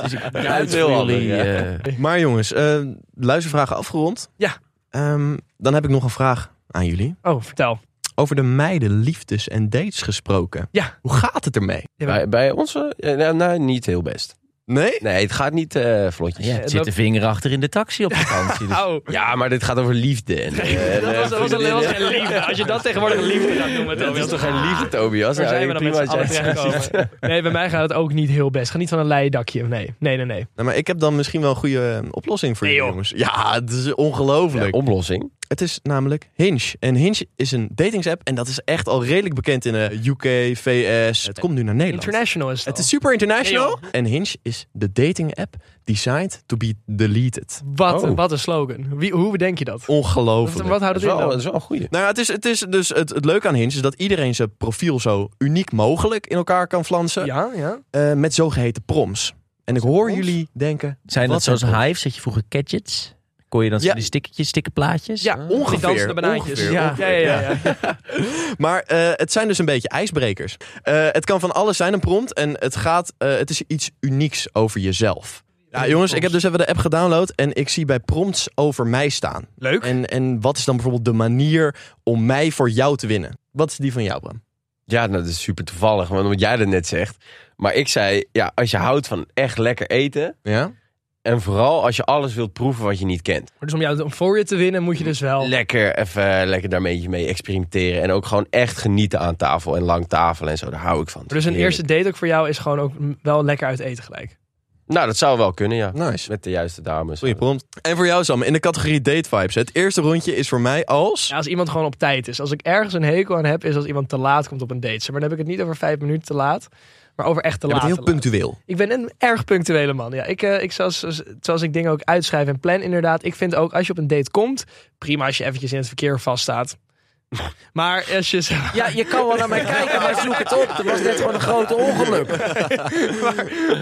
Speaker 4: Dus ik duid
Speaker 5: heel
Speaker 4: voor jullie.
Speaker 5: handig, ja.
Speaker 4: eh,
Speaker 3: Maar jongens, eh, luistervragen afgerond.
Speaker 1: Ja.
Speaker 3: Ehm, dan heb ik nog een vraag aan jullie.
Speaker 1: Oh, vertel.
Speaker 3: Over de meiden, liefdes en dates gesproken.
Speaker 1: Ja.
Speaker 3: Hoe gaat het ermee?
Speaker 5: Bij, bij ons, eh, nou, nou, niet heel best.
Speaker 3: Nee?
Speaker 5: Nee, het gaat niet eh vlotjes.
Speaker 4: ja,
Speaker 5: Ja.
Speaker 4: het zit de vinger achter in de taxi op vakantie. Dus
Speaker 1: Oh,
Speaker 5: maar dit gaat over liefde. En, (laughs) eh,
Speaker 1: dat was, dat was, dat was een
Speaker 5: (laughs)
Speaker 1: liefde. Als je dat Ah. tegenwoordig een liefde gaat noemen,
Speaker 5: dat
Speaker 1: Tobias.
Speaker 5: is toch geen liefde, Tobias?
Speaker 1: Waar
Speaker 5: Nou,
Speaker 1: zijn we dan met
Speaker 5: prima
Speaker 1: z'n allen
Speaker 5: dat jij het zegt.
Speaker 1: terechtkomen?
Speaker 5: (laughs)
Speaker 1: Nee, bij mij gaat het ook niet heel best. Ga niet van een leien dakje. Nee, nee, nee. nee.
Speaker 3: Nou, maar ik heb dan misschien wel een goede eh, oplossing voor
Speaker 1: Nee,
Speaker 3: jullie, jongens. Ja, het is ongelooflijk.
Speaker 5: Ja, Oplossing.
Speaker 3: Het is namelijk Hinge. En Hinge is een datingsapp en dat is echt al redelijk bekend in eh, de UK, VS. Het komt nu naar Nederland.
Speaker 1: International is het
Speaker 3: Het
Speaker 1: al.
Speaker 3: is super international. en Hinge is de dating app designed to be deleted.
Speaker 1: Wat,
Speaker 5: Oh.
Speaker 1: wat een slogan. Wie, hoe bedenk je dat? Wat,
Speaker 3: Ongelooflijk.
Speaker 1: wat houdt het
Speaker 5: Dat
Speaker 1: in
Speaker 5: is wel, dat
Speaker 1: dan?
Speaker 5: is wel een goede.
Speaker 3: Nou ja, het is, het is dus het, het leuke aan Hinge is dat iedereen zijn profiel zo uniek mogelijk in elkaar kan flansen.
Speaker 1: Ja, ja.
Speaker 3: eh, met zogeheten proms. En ik hoor
Speaker 1: proms?
Speaker 3: jullie denken,
Speaker 4: Zijn dat
Speaker 3: Wat
Speaker 4: zoals
Speaker 3: een top.
Speaker 4: Hive? Zet je vroeger gadgets? Kon je dan
Speaker 3: Ja.
Speaker 4: die stickertjes, stickerplaatjes?
Speaker 5: eh,
Speaker 1: ja
Speaker 3: ongeveer,
Speaker 1: Die dansende banaantjes.
Speaker 3: ongeveer,
Speaker 1: ja.
Speaker 4: ongeveer.
Speaker 1: Ja, ja, ja, ja.
Speaker 3: Maar eh, het zijn dus een beetje ijsbrekers. Eh, het kan van alles zijn, een prompt. En het, gaat, eh, het is iets unieks over jezelf. Ja, jongens, ik heb dus even de app gedownload en ik zie bij prompts over mij staan.
Speaker 1: Leuk.
Speaker 3: En, en wat is dan bijvoorbeeld de manier om mij voor jou te winnen? Wat is die van jou, Bram?
Speaker 5: Ja, nou, dat is super toevallig, want wat jij dat net zegt. Maar ik zei, ja, als je houdt van echt lekker eten.
Speaker 3: Ja?
Speaker 5: En vooral als je alles wilt proeven wat je niet kent.
Speaker 1: Dus om jou om voor je te winnen moet je dus wel...
Speaker 5: Lekker even lekker daarmee mee experimenteren. En ook gewoon echt genieten aan tafel en lang tafel en zo. Daar hou ik van.
Speaker 1: Dus een
Speaker 5: Heerlijk.
Speaker 1: eerste date ook voor jou is gewoon ook m- wel lekker uit eten gelijk.
Speaker 5: Nou, dat zou wel kunnen, ja.
Speaker 3: Nice.
Speaker 5: Met de juiste dames.
Speaker 3: Goeie prompt. En voor jou, Sam, in de categorie date vibes. Het eerste rondje is voor mij als...
Speaker 1: Ja, als iemand gewoon op tijd is. Als ik ergens een hekel aan heb, is als iemand te laat komt op een date. Zeg Maar dan heb ik het niet over vijf minuten te laat, maar over echt te
Speaker 3: Je
Speaker 1: laat.
Speaker 3: bent heel
Speaker 1: te laat.
Speaker 3: punctueel.
Speaker 1: Ik ben een erg punctuele man. Ja, ik, eh, ik zoals, zoals- zoals ik dingen ook uitschrijf en plan inderdaad. Ik vind ook als je op een date komt, prima als je eventjes in het verkeer
Speaker 5: (laughs)
Speaker 1: vaststaat. Maar als je... zo-
Speaker 4: Ja, je kan wel naar
Speaker 1: (laughs)
Speaker 4: mij kijken, maar zoek het op. Dat was net gewoon een grote ongeluk.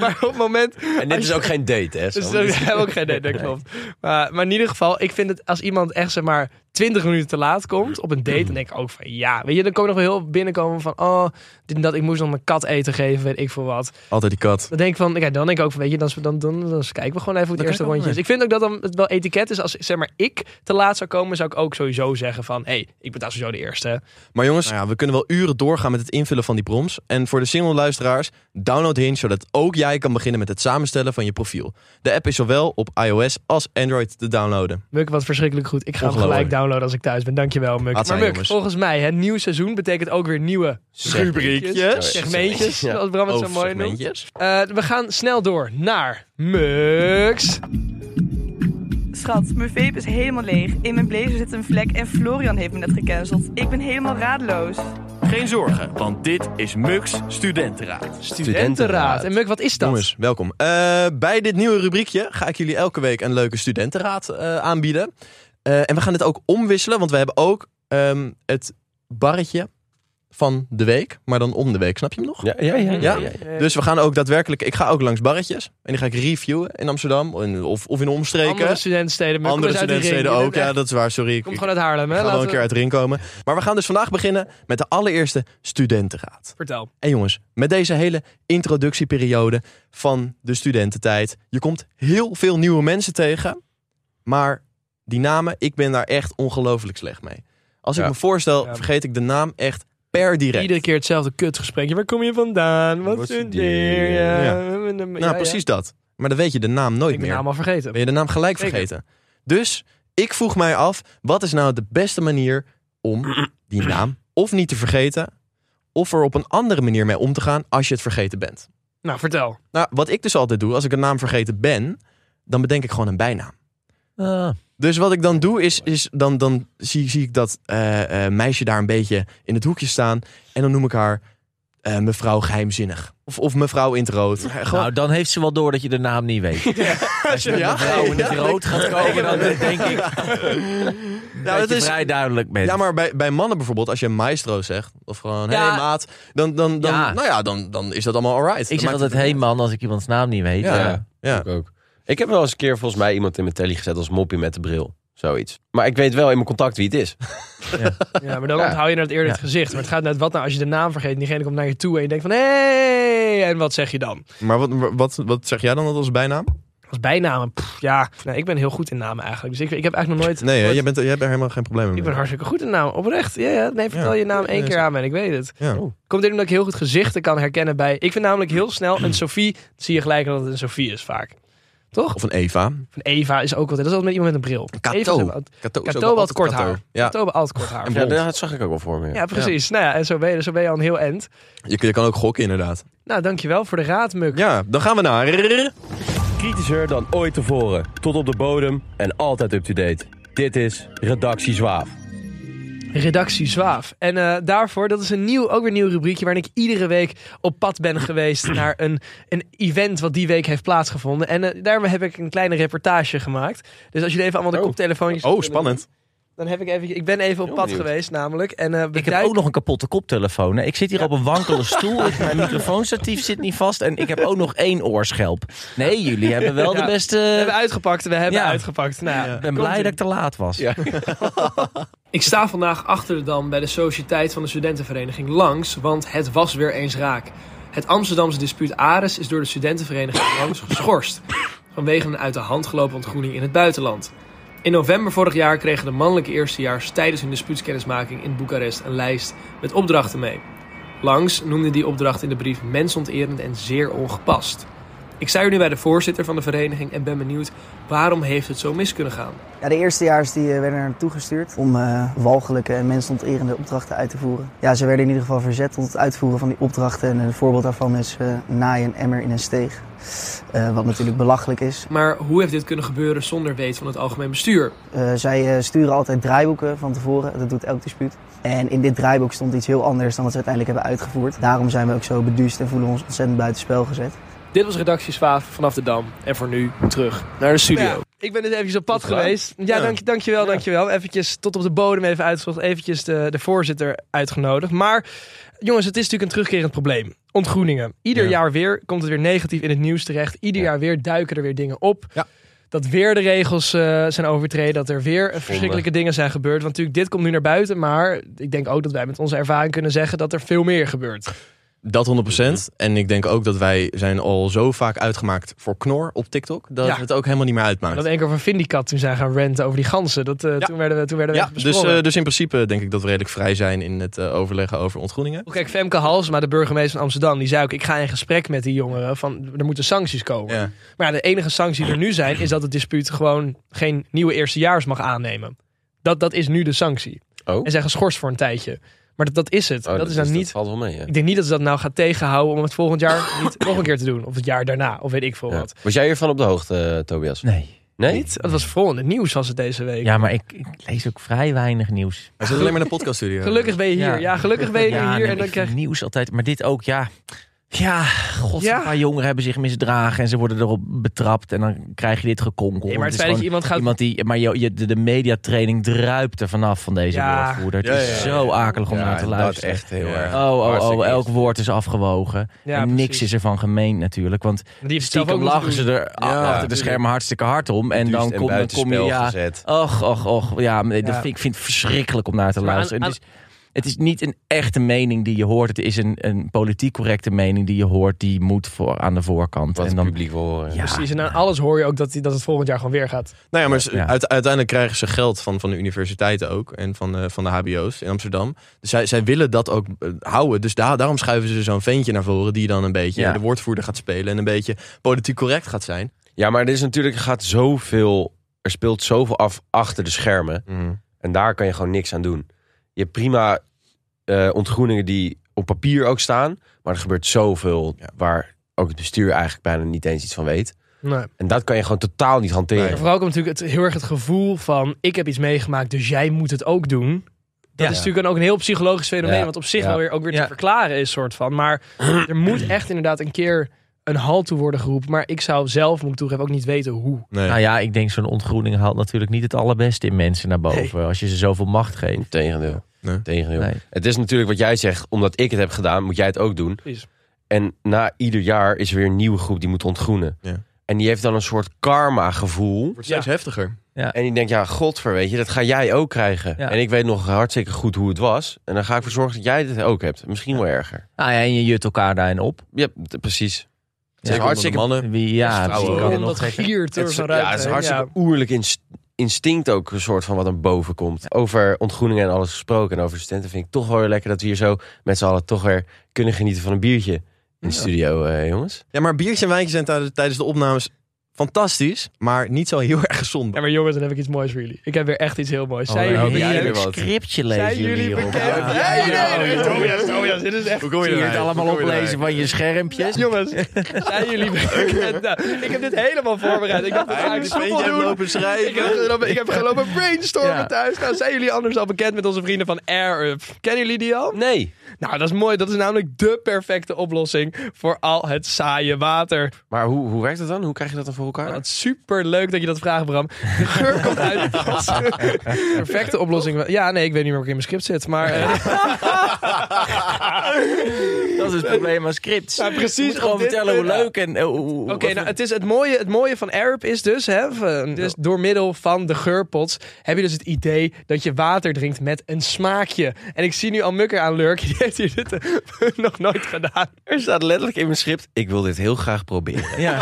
Speaker 1: Maar op het moment...
Speaker 5: En dit is ook geen date, hè?
Speaker 1: Dus
Speaker 5: Sam?
Speaker 1: dat heb ik ook geen
Speaker 3: (laughs)
Speaker 1: idee, dat klopt. Maar, maar in ieder geval, ik vind het als iemand echt zeg maar 20 minuten te laat komt op een date, dan denk ik ook van ja, weet je, dan kan ik nog wel heel binnenkomen van oh, dit en dat, ik moest nog mijn kat eten geven, weet ik veel wat.
Speaker 3: Altijd die kat.
Speaker 1: Dan denk ik van, kijk, dan denk ik ook van, weet je, dan, dan, dan, dan kijken we gewoon even hoe het
Speaker 3: Dan
Speaker 1: eerste
Speaker 3: kijken we
Speaker 1: rondje is. Ik vind ook dat dan het wel etiket is als zeg maar ik te laat zou komen, zou ik ook sowieso zeggen van hé, hey, ik ben daar sowieso de eerste.
Speaker 3: Maar jongens, nou ja, we kunnen wel uren doorgaan met het invullen van die prompts. En voor de single luisteraars, download Hinge zodat ook jij kan beginnen met het samenstellen van je profiel. De app is zowel op iOS als Android te downloaden.
Speaker 1: Muk, wat verschrikkelijk goed. Ik ga hem
Speaker 3: Ongelooflijk.
Speaker 1: gelijk downloaden als ik thuis ben. Dankjewel, Muk.
Speaker 3: Laat
Speaker 1: maar
Speaker 3: zijn,
Speaker 1: Muk,
Speaker 3: jongens.
Speaker 1: volgens mij, het nieuw seizoen betekent ook weer nieuwe
Speaker 3: Rubriekjes.
Speaker 1: segmentjes,
Speaker 5: Ja.
Speaker 1: zoals Bram het zo mooi noemt.
Speaker 3: Segmentjes.
Speaker 1: Eh, we gaan snel door naar Mux.
Speaker 7: Schat, mijn vape is helemaal leeg. In mijn blazer zit een vlek en Florian heeft me net gecanceld. Ik ben helemaal radeloos.
Speaker 8: Geen zorgen, want dit is Mux Studentenraad.
Speaker 1: Studentenraad. En Muk, wat is dat?
Speaker 3: Jongens, welkom. Eh, bij dit nieuwe rubriekje ga ik jullie elke week een leuke studentenraad eh, aanbieden. Eh, en we gaan dit ook omwisselen, want we hebben ook ehm, het barretje van de week. Maar dan om de week, snap je hem nog?
Speaker 5: Ja, ja, ja. ja,
Speaker 3: Ja?
Speaker 5: ja,
Speaker 1: Eh,
Speaker 3: Dus we gaan ook daadwerkelijk. Ik ga ook langs barretjes. En die ga ik reviewen in Amsterdam. in- of, of in de omstreken.
Speaker 1: Andere
Speaker 3: Andere,
Speaker 1: studentensteden. Muk, kom eens dus uit die
Speaker 3: studentensteden ook.
Speaker 1: ring.
Speaker 3: Ja, dat is waar. Sorry. Ik,
Speaker 1: Komt
Speaker 3: ik
Speaker 1: gewoon uit Haarlem, hè?
Speaker 3: ga wel
Speaker 1: Laten
Speaker 3: een
Speaker 1: we-
Speaker 3: keer uit de ring komen. Maar we gaan dus vandaag beginnen met de allereerste studentenraad.
Speaker 1: Vertel.
Speaker 3: En jongens, met deze hele introductieperiode van de studententijd. Je komt heel veel nieuwe mensen tegen. Maar die namen, ik ben daar echt ongelooflijk slecht mee. Als
Speaker 5: Ja.
Speaker 3: ik me voorstel,
Speaker 1: Ja.
Speaker 3: vergeet ik de naam echt Per direct.
Speaker 1: Iedere keer hetzelfde kutgesprekje. Waar kom je vandaan? Wat
Speaker 5: Wat
Speaker 1: studeer
Speaker 5: studeer
Speaker 1: je?
Speaker 5: je?
Speaker 3: Nou, precies dat. Maar dan weet je de naam nooit
Speaker 1: Ik ben
Speaker 3: meer.
Speaker 1: de naam al vergeten.
Speaker 3: Ben je de naam gelijk
Speaker 1: Zeker.
Speaker 3: vergeten. Dus ik vroeg mij af, wat is nou de beste manier om die naam of niet te vergeten... of er op een andere manier mee om te gaan als je het vergeten bent.
Speaker 1: Nou, vertel.
Speaker 3: Nou, wat ik dus altijd doe, als ik een naam vergeten ben... dan bedenk ik gewoon een bijnaam.
Speaker 4: Ah,
Speaker 3: Dus wat ik dan doe is, is dan, dan zie, zie ik dat eh, eh, meisje daar een beetje in het hoekje staan. En dan noem ik haar eh, mevrouw geheimzinnig. Of, of mevrouw in het rood. Eh, Gewoon,
Speaker 4: nou, dan heeft ze wel door dat je de naam niet
Speaker 5: (laughs)
Speaker 4: weet. Als je
Speaker 3: Ja,
Speaker 4: een vrouw in het
Speaker 3: ja.
Speaker 4: rood gaat komen, dan denk ik
Speaker 3: nou,
Speaker 4: dat
Speaker 3: het
Speaker 4: je
Speaker 3: is,
Speaker 4: vrij duidelijk bent.
Speaker 3: ja, maar bij, bij mannen bijvoorbeeld, als je maestro zegt. Of gewoon,
Speaker 4: Ja.
Speaker 3: hey, maat. Dan, dan, dan,
Speaker 4: Ja.
Speaker 3: Nou ja, dan, dan is dat allemaal alright.
Speaker 4: ik zeg
Speaker 3: Dan maakt
Speaker 4: altijd, hey man, als ik iemands naam niet weet. eh,
Speaker 3: Ja.
Speaker 4: ja.
Speaker 3: Ja.
Speaker 5: Ik ook. Ik heb wel eens een keer volgens mij iemand in mijn telly gezet als moppie met de bril. Zoiets. Maar ik weet wel in mijn contact wie het is.
Speaker 1: Ja, maar dan
Speaker 5: Ja.
Speaker 1: onthoud je het eerder
Speaker 4: Ja.
Speaker 1: het gezicht. Maar het gaat net wat nou als je de naam vergeet. en Diegene komt naar je toe en je denkt van... Hé, hey! en wat zeg je dan?
Speaker 3: Maar wat, wat, wat zeg jij dan altijd als bijnaam?
Speaker 1: Als bijnamen, pff, ja. Nou, ik ben heel goed in namen eigenlijk. Dus ik, ik heb eigenlijk nog nooit...
Speaker 3: Nee, hè,
Speaker 1: nooit-
Speaker 3: jij, bent, jij hebt er helemaal geen probleem mee.
Speaker 1: Ik ben hartstikke goed in namen, oprecht. Ja, ja. Nee, vertel
Speaker 3: Ja.
Speaker 1: je naam één
Speaker 3: Ja,
Speaker 1: keer
Speaker 3: is-
Speaker 1: aan me en ik weet het.
Speaker 3: Ja.
Speaker 1: Komt dit omdat ik heel goed gezichten kan herkennen bij... Ik vind namelijk heel snel een Sophie... zie je gelijk dat het een Sophie is vaak. Toch?
Speaker 3: Of een Eva.
Speaker 1: Van Eva is ook altijd... Dat is altijd met iemand met een bril.
Speaker 3: Kato.
Speaker 1: Eva is ook altijd-
Speaker 3: Kato, is ook
Speaker 1: Kato
Speaker 3: altijd
Speaker 1: had kort
Speaker 3: Kato.
Speaker 1: haar.
Speaker 3: Ja,
Speaker 1: Kato had altijd kort haar.
Speaker 5: Ja, dat zag ik ook wel voor me. ja.
Speaker 1: Ja, precies. Nou ja, en zo ben je, zo ben je al een heel end.
Speaker 3: je, je kan ook gokken inderdaad.
Speaker 1: Nou, dankjewel voor de raad, Muk.
Speaker 3: Ja, dan gaan we naar...
Speaker 8: Kritischer dan ooit tevoren. Tot op de bodem en altijd up-to-date. Dit is Redactie Zwaaf.
Speaker 1: Redactie Zwaaf. En eh, daarvoor, dat is een nieuw, ook weer een nieuw rubriekje waarin ik iedere week op pad ben geweest naar een, een event wat die week heeft plaatsgevonden. En eh, daarmee heb ik een kleine reportage gemaakt. Dus als jullie even allemaal
Speaker 3: Oh.
Speaker 1: de koptelefoontjes...
Speaker 3: Oh, spannend.
Speaker 1: Dan heb ik even, ik ben even op pad
Speaker 5: benieuwd.
Speaker 1: geweest namelijk. En, eh,
Speaker 4: Ik heb
Speaker 1: beduid-
Speaker 4: ook nog een kapotte koptelefoon. Hè. Ik zit hier op een
Speaker 1: (laughs)
Speaker 4: wankele stoel. Ik- Mijn microfoonstatief zit niet vast. En ik heb ook nog één oorschelp. Nee, jullie hebben wel
Speaker 1: Ja.
Speaker 4: de beste...
Speaker 1: We hebben uitgepakt, we hebben
Speaker 4: Ja.
Speaker 1: uitgepakt. Nou, ja.
Speaker 4: Ik ben blij dat ik te laat was.
Speaker 1: Ik sta vandaag achter de dam bij de Sociëteit van de Studentenvereniging langs, want het was weer eens raak. Het Amsterdamse dispuut Ares is door de Studentenvereniging (coughs) langs geschorst. Vanwege een uit de hand gelopen ontgroening in het buitenland. In november vorig jaar kregen de mannelijke eerstejaars tijdens hun dispuutskennismaking in Boekarest een lijst met opdrachten mee. Langs noemde die opdracht in de brief mensonterend en zeer ongepast. Ik sta hier nu bij de voorzitter van de vereniging en ben benieuwd waarom heeft het zo mis kunnen gaan.
Speaker 9: Ja, de eerstejaars die eh, werden er naartoe gestuurd om eh, walgelijke en mensonterende opdrachten uit te voeren. Ja, ze werden in ieder geval verzet tot het uitvoeren van die opdrachten. En een voorbeeld daarvan is eh, naaien een emmer in een steeg. Eh, wat natuurlijk belachelijk is.
Speaker 1: Maar hoe heeft dit kunnen gebeuren zonder weet van het algemeen bestuur?
Speaker 9: Eh, zij eh, sturen altijd draaiboeken van tevoren. Dat doet elk dispuut. En in dit draaiboek stond iets heel anders dan wat ze uiteindelijk hebben uitgevoerd. Daarom zijn we ook zo beduust en voelen ons ontzettend buitenspel gezet.
Speaker 1: Dit was redactie Zwaaf vanaf de Dam. En voor nu terug naar de studio.
Speaker 5: Oh,
Speaker 1: ik ben dus eventjes op pad geweest. Ja,
Speaker 3: Ja.
Speaker 1: Dank, dankjewel, dankjewel. Eventjes tot op de bodem even uitgezocht. Eventjes de, de voorzitter uitgenodigd. Maar jongens, het is natuurlijk een terugkerend probleem. Ontgroeningen. Ieder
Speaker 3: Ja.
Speaker 1: jaar weer komt het weer negatief in het nieuws terecht. Ieder jaar weer duiken er weer dingen op.
Speaker 3: Ja.
Speaker 1: Dat weer de regels eh, zijn overtreden. Dat er weer verschrikkelijke dingen zijn gebeurd. Want natuurlijk, dit komt nu naar buiten. Maar ik denk ook dat wij met onze ervaring kunnen zeggen dat er veel meer gebeurt.
Speaker 3: Dat 100%. En ik denk ook dat wij zijn al zo vaak uitgemaakt voor knor op TikTok. Dat
Speaker 1: Ja.
Speaker 3: het ook helemaal niet meer uitmaakt.
Speaker 1: Dat één keer van Vindicat toen zijn gaan ranten over die ganzen. Dat,
Speaker 3: Ja.
Speaker 1: eh, Toen werden we, toen werden we
Speaker 3: ja,
Speaker 1: echt
Speaker 3: dus,
Speaker 1: besprongen.
Speaker 3: eh, dus in principe denk ik dat we redelijk vrij zijn in het eh, overleggen over ontgroeningen.
Speaker 1: Kijk, Femke Halsema, de burgemeester van Amsterdam, die zei ook... ik ga in gesprek met die jongeren, van, er moeten sancties komen.
Speaker 3: Ja.
Speaker 1: Maar ja, de enige sanctie die er nu zijn... is dat het dispuut gewoon geen nieuwe eerstejaars mag aannemen. Dat, dat is nu de sanctie.
Speaker 5: Oh.
Speaker 1: En zijn geschorst voor een tijdje. Maar dat, dat is het.
Speaker 5: Oh,
Speaker 1: dat is dan
Speaker 5: dus
Speaker 1: niet...
Speaker 5: valt wel mee, hè?
Speaker 1: Ik denk niet dat ze dat nou gaat tegenhouden om het volgend jaar niet nog een keer te doen. Of het jaar daarna, of weet ik veel
Speaker 5: Ja.
Speaker 1: wat.
Speaker 5: Was jij hiervan op de hoogte, eh, Tobias? Oh,
Speaker 4: Nee.
Speaker 5: Nee?
Speaker 1: Dat was vol in het nieuws was het deze week.
Speaker 4: Ja, maar ik, ik lees ook vrij weinig nieuws.
Speaker 3: Hij zit alleen maar in de podcaststudio.
Speaker 1: Gelukkig ben je hier. Ja,
Speaker 4: Ja.
Speaker 1: gelukkig ben je
Speaker 4: ja,
Speaker 1: hier.
Speaker 4: nee,
Speaker 1: en dan
Speaker 4: ik
Speaker 1: krijg
Speaker 4: vind nieuws altijd. Maar dit ook, ja... Ja, god,
Speaker 1: Ja.
Speaker 4: een paar jongeren hebben zich misdragen en ze worden erop betrapt. En dan krijg je dit gekonkel.
Speaker 1: Nee, maar het
Speaker 4: is
Speaker 1: feit dat je
Speaker 4: gewoon
Speaker 1: iemand gaat-
Speaker 4: Iemand die, maar je, je- de, de mediatraining druipt er vanaf van deze
Speaker 1: Ja.
Speaker 4: woordvoerder. Het
Speaker 3: Ja,
Speaker 4: is
Speaker 3: ja, ja.
Speaker 4: zo akelig om naar te
Speaker 5: dat
Speaker 4: luisteren.
Speaker 5: echt heel erg.
Speaker 4: Oh, oh,
Speaker 5: Hartstikke
Speaker 4: oh, elk
Speaker 5: eerst.
Speaker 4: woord is afgewogen.
Speaker 1: Ja,
Speaker 4: en niks
Speaker 1: precies.
Speaker 4: is ervan gemeend natuurlijk. Want
Speaker 1: Die heeft het zelf
Speaker 4: stiekem
Speaker 1: ook moeten
Speaker 4: lachen ze er a- achter de schermen hartstikke hard om. En dan,
Speaker 5: Geduwd
Speaker 4: kom, dan kom je...
Speaker 5: buitenspel
Speaker 4: Ja,
Speaker 5: gezet.
Speaker 4: och, och, och. Ja, maar
Speaker 1: Ja.
Speaker 4: Dat vind, ik vind het verschrikkelijk om naar te
Speaker 1: Maar aan-
Speaker 4: luisteren.
Speaker 1: aan-
Speaker 4: dus, het is niet een echte mening die je hoort. Het is een, een politiek correcte mening die je hoort. Die moet voor, aan de voorkant.
Speaker 5: Wat
Speaker 4: en
Speaker 5: het
Speaker 4: dan,
Speaker 5: publiek wil horen. Dus-
Speaker 4: ja,
Speaker 1: Precies, en aan alles hoor je ook dat, die- dat het volgend jaar gewoon weer gaat.
Speaker 3: Nou ja, maar ze-
Speaker 4: Ja.
Speaker 3: uite- uiteindelijk krijgen ze geld van, van de universiteiten ook. En van, eh, van de HBO's in Amsterdam. Dus zij, zij willen dat ook eh, houden. Dus daar daarom schuiven ze zo'n ventje naar voren. Die dan een beetje
Speaker 4: Ja.
Speaker 3: de woordvoerder gaat spelen. En een beetje politiek correct gaat zijn.
Speaker 5: Ja, maar er is natuurlijk er gaat zoveel. Er speelt zoveel af achter de schermen.
Speaker 4: Mhm.
Speaker 5: En daar kan je gewoon niks aan doen. Je hebt prima eh, ontgroeningen die op papier ook staan. Maar er gebeurt zoveel waar ook het bestuur eigenlijk bijna niet eens iets van weet.
Speaker 1: Nee.
Speaker 5: En dat kan je gewoon totaal niet hanteren.
Speaker 1: En Vooral ook natuurlijk het, heel erg het gevoel van... ik heb iets meegemaakt, dus jij moet het ook doen. Dat is natuurlijk dan ook een heel psychologisch fenomeen...
Speaker 5: Ja.
Speaker 1: wat op zich
Speaker 5: Ja.
Speaker 1: wel weer, ook weer
Speaker 4: Ja.
Speaker 1: te verklaren is, soort van. Maar er moet echt inderdaad een keer een halt toe worden geroepen. Maar ik zou zelf, moet ik toegeven, ook niet weten hoe.
Speaker 3: Nee.
Speaker 4: Nou ja, ik denk zo'n ontgroening haalt natuurlijk niet het allerbeste in mensen naar boven. Als je ze zoveel macht geeft.
Speaker 5: Tegendeel.
Speaker 3: Nee.
Speaker 5: Tegendeel.
Speaker 4: Nee.
Speaker 5: Het is natuurlijk wat jij zegt, omdat ik het heb gedaan, moet jij het ook doen.
Speaker 1: Precies.
Speaker 5: En na ieder jaar is er weer een nieuwe groep die moet ontgroenen.
Speaker 3: Ja.
Speaker 5: En die heeft dan een soort karma gevoel.
Speaker 3: Wordt steeds heftiger.
Speaker 5: En die denkt, ja, godver, weet je, dat ga jij ook krijgen.
Speaker 4: Ja.
Speaker 5: En ik weet nog hartstikke goed hoe het was. En dan ga ik voor zorgen dat jij dit ook hebt. Misschien wel erger.
Speaker 4: Ah ja, en je jut elkaar daarin op.
Speaker 5: Ja, d- precies. Het
Speaker 4: Ja,
Speaker 5: is
Speaker 3: Zeker
Speaker 5: hartstikke...
Speaker 3: onder de mannen.
Speaker 4: Wie, ja,
Speaker 5: Vrouwen
Speaker 4: misschien
Speaker 5: ook.
Speaker 4: kan het
Speaker 1: Om
Speaker 4: nog
Speaker 1: dat
Speaker 4: gekker.
Speaker 1: gier te
Speaker 5: Het is,
Speaker 1: van
Speaker 5: ja, het is hartstikke oerlijk inst- instinct ook een soort van wat aan boven komt. Over ontgroeningen en alles gesproken en over studenten vind ik toch wel weer lekker dat we hier zo met z'n allen toch weer kunnen genieten van een biertje in de studio, eh, jongens.
Speaker 3: Ja, maar biertjes en wijntjes zijn tijdens- tijdens de opnames fantastisch. Maar niet zo heel erg gezond.
Speaker 1: Ja, maar jongens, dan heb ik iets moois voor jullie. Ik heb weer echt iets heel moois. Zijn
Speaker 4: Oh,
Speaker 1: jullie
Speaker 4: wat
Speaker 5: jij
Speaker 4: een
Speaker 5: weer
Speaker 4: leuk
Speaker 5: wat.
Speaker 4: scriptje lezen
Speaker 1: Zijn jullie
Speaker 4: jullie hierop.
Speaker 1: bekend?
Speaker 4: Ja.
Speaker 1: Ja,
Speaker 4: ja,
Speaker 1: nee,
Speaker 4: ja.
Speaker 1: nee, Tobias, Tobias, dit is echt...
Speaker 3: Hoe kom
Speaker 4: Zie je het
Speaker 3: eruit?
Speaker 4: allemaal
Speaker 3: Hoe kom je
Speaker 4: oplezen van je schermpjes?
Speaker 1: (laughs) Jongens, zijn jullie bekend? Nou, ik heb dit helemaal voorbereid. Ik dacht, dat ga ik
Speaker 3: eruit? Eindelijk
Speaker 1: soepel
Speaker 3: een beetje
Speaker 1: doen.
Speaker 3: lopen
Speaker 1: Ik heb,
Speaker 3: schrijven.
Speaker 1: gelopen, ik heb gelopen brainstormen
Speaker 4: Ja.
Speaker 1: thuis. Nou, zijn jullie anders al bekend met onze vrienden van AirUp? Kennen jullie die al?
Speaker 5: Nee,
Speaker 1: Nou, dat is mooi. Dat is namelijk de perfecte oplossing voor al het saaie water. Nou,
Speaker 5: maar hoe, hoe werkt dat dan? Hoe krijg je dat dan voor elkaar?
Speaker 1: Wat super leuk dat je dat vraagt, Bram. De geur komt uit de tas. (laughs) Perfecte oplossing. Ja, nee, ik weet niet meer wat ik in mijn script zit. Maar eh, (laughs)
Speaker 4: Dat is het probleem aan scripts.
Speaker 1: Ja, precies,
Speaker 4: Je moet gewoon
Speaker 1: op dit
Speaker 4: vertellen hoe
Speaker 1: punt.
Speaker 4: leuk en eh, hoe- hoe...
Speaker 1: oké,
Speaker 4: wat-
Speaker 1: nou, het, is het, mooie, het mooie van AirUp is dus, hè, van- dus door middel van de geurpots heb je dus het idee dat je water drinkt met een smaakje. En ik zie nu al Mukker aan lurk. (laughs) Die heeft hier dit eh, nog nooit gedaan.
Speaker 5: Er staat letterlijk in mijn script, ik wil dit heel graag proberen.
Speaker 4: Ja,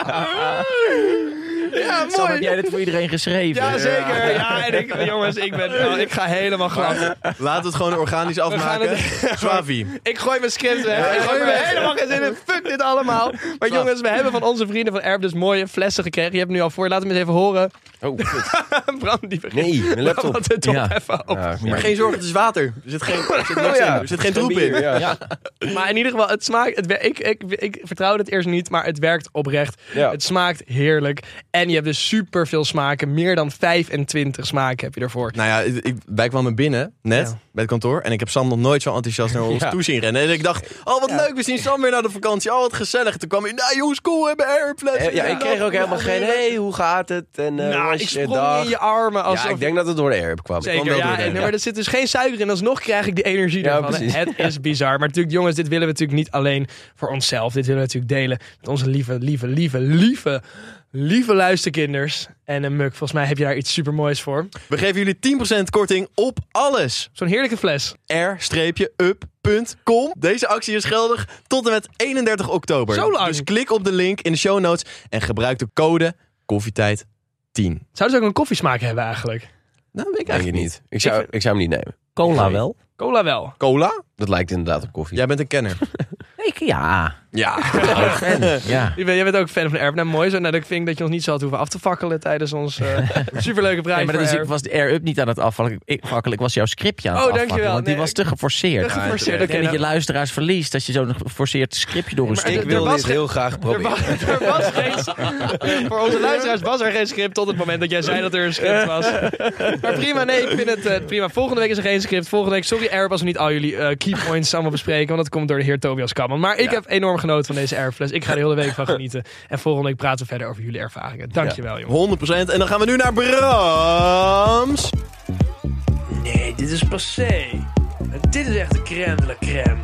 Speaker 1: Ah. Ja,
Speaker 4: Sam, heb jij dit voor iedereen geschreven?
Speaker 1: Ja, zeker. Ja, en ik, jongens, ik, ben, oh, ik ga helemaal glad.
Speaker 3: Laat het gewoon (laughs) organisch
Speaker 1: gaan
Speaker 3: afmaken. Swavi.
Speaker 1: Ik gooi mijn script weg. ik gooi me helemaal geen zin in. Fuck dit allemaal. Maar jongens, we hebben van onze vrienden van Erb dus mooie flessen gekregen. Je hebt hem nu al voor. Laat hem eens even horen.
Speaker 5: Oh, kut.
Speaker 1: (laughs) Bram, die begint.
Speaker 5: nee, mijn laptop.
Speaker 1: Wat het op
Speaker 4: Ja.
Speaker 1: even op.
Speaker 5: Ja,
Speaker 3: Maar geen zorgen, het is water. Er zit geen, er (laughs) zit niks in. Er zit Oh geen troep in.
Speaker 5: bier, ja.
Speaker 1: Maar in ieder geval, het smaakt. Het, wer- ik, ik, ik vertrouwde het eerst niet, maar het werkt oprecht.
Speaker 5: Ja.
Speaker 1: Het smaakt heerlijk. En je hebt dus super veel smaken. Meer dan 25 smaken heb je ervoor.
Speaker 3: Nou ja, ik, ik- wij kwamen binnen, net,
Speaker 1: Ja.
Speaker 3: bij het kantoor. En ik heb Sam nog nooit zo enthousiast naar ons
Speaker 5: Ja.
Speaker 3: toe zien rennen. En ik dacht, oh wat leuk, we zien Sam weer naar de vakantie. Oh wat gezellig. Toen kwam hij, nou jongens, cool, we hebben airplanes.
Speaker 5: Eh, Ja, ik kreeg ook helemaal geen, hey, hoe gaat het? En eh, hoe
Speaker 1: nou,
Speaker 5: was
Speaker 1: ik
Speaker 5: je
Speaker 1: sprong
Speaker 5: dag?
Speaker 1: in je armen. Alsof
Speaker 5: Ja, ik denk dat het door de airp kwam. Het kwam
Speaker 1: Zeker,
Speaker 5: wel door
Speaker 1: ja.
Speaker 5: de
Speaker 1: En,
Speaker 5: airp.
Speaker 1: maar er zit dus geen suiker in, alsnog krijg ik die energie
Speaker 5: Ja,
Speaker 1: ervan.
Speaker 5: precies.
Speaker 1: Het is bizar. Maar natuurlijk, jongens, dit willen we natuurlijk niet alleen voor onszelf. Dit willen we natuurlijk delen met onze lieve, lieve, lieve, lieve, lieve luisterkinders. En een Muk, volgens mij heb je daar iets supermoois voor.
Speaker 3: We geven jullie 10% korting op alles.
Speaker 1: Zo'n heerlijke fles.
Speaker 3: r-up.com. Deze actie is geldig tot en met 31 oktober.
Speaker 1: Zo lang.
Speaker 3: Dus klik op de link in de show notes en gebruik de code koffietijd10.
Speaker 1: Zou ze ook een koffiesmaak hebben eigenlijk?
Speaker 3: Nou, weet ik
Speaker 5: Denk je
Speaker 3: eigenlijk niet.
Speaker 5: niet. Ik zou, ik zou hem niet nemen.
Speaker 4: Cola wel?
Speaker 1: Cola wel.
Speaker 3: Cola?
Speaker 5: Dat lijkt inderdaad op koffie.
Speaker 3: Jij bent een kenner.
Speaker 4: Ik, ja.
Speaker 3: ja.
Speaker 4: ja.
Speaker 1: Je bent, jij bent ook fan van Erb. Nou, mooi zo. Nou, dat vind ik dat je ons niet zo had hoeven af te fakkelen tijdens ons eh,
Speaker 4: (laughs)
Speaker 1: superleuke prijs.
Speaker 4: Nee, maar dat is,
Speaker 1: voor
Speaker 4: ik
Speaker 1: Erb.
Speaker 4: was de air-up niet aan het afvallen. Ik, fakkelen. ik was jouw scriptje aan het
Speaker 1: Oh,
Speaker 4: afvallen.
Speaker 1: dankjewel.
Speaker 4: Want die
Speaker 1: Nee,
Speaker 4: was
Speaker 1: ik-
Speaker 4: te geforceerd.
Speaker 1: Te geforceerd.
Speaker 4: Ik
Speaker 1: Oké,
Speaker 4: denk dat
Speaker 1: nou,
Speaker 4: je luisteraars verliest als je zo'n geforceerd scriptje door een
Speaker 1: maar
Speaker 4: stuk
Speaker 1: er- er was geen-
Speaker 5: graag
Speaker 1: Er was, er was geen, voor onze luisteraars was er geen script tot het moment dat jij zei dat er een script was. Maar prima, nee, ik vind het eh, prima. Volgende week is er geen script. Volgende week, sorry Erb, als we niet al jullie eh, key points allemaal bespreken. Want dat komt door de heer Tobias Kamman. Maar ik heb enorm genoten van deze Erbfles. Ik ga er heel de hele week van genieten. En volgende week praten we verder over jullie ervaringen. Dankjewel, jongen.
Speaker 3: 100%. En dan gaan we nu naar Brams.
Speaker 1: Nee, dit is passé. Dit is echt de crème de la crème.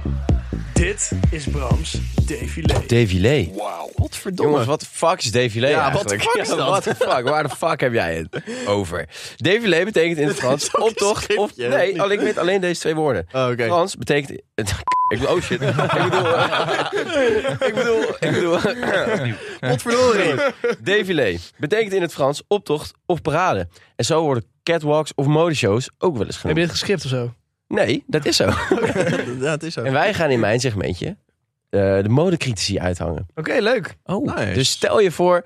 Speaker 1: Dit is Brams Defilé.
Speaker 5: Defilé.
Speaker 1: Godverdomme.
Speaker 5: Jongens, wat fuck is defilé
Speaker 3: Ja, what the
Speaker 5: eigenlijk?
Speaker 3: fuck is dat?
Speaker 5: what the fuck? Waar de fuck heb jij het over? Defilé betekent
Speaker 1: (laughs)
Speaker 5: in het Frans optocht of...
Speaker 3: scriptje, of
Speaker 5: Nee,
Speaker 3: niet?
Speaker 5: alleen, ik weet alleen deze twee woorden.
Speaker 3: Oh, Oké.
Speaker 5: Frans betekent... (laughs) Ik bedoel, oh shit. ik bedoel... (laughs) eh, ik bedoel... Ik bedoel... (laughs) Oh, Potverdorie. Défilé betekent in het Frans optocht of parade. En zo worden catwalks of modeshows ook wel eens
Speaker 1: Heb je
Speaker 5: genoemd.
Speaker 1: dit gescript of zo?
Speaker 5: Nee, dat
Speaker 1: (laughs)
Speaker 5: is zo.
Speaker 3: (laughs) Ja, het is zo.
Speaker 5: En wij gaan in mijn segmentje eh, de modecritici uithangen.
Speaker 1: Oké, leuk.
Speaker 4: Oh,
Speaker 3: Nice.
Speaker 5: Dus stel je voor,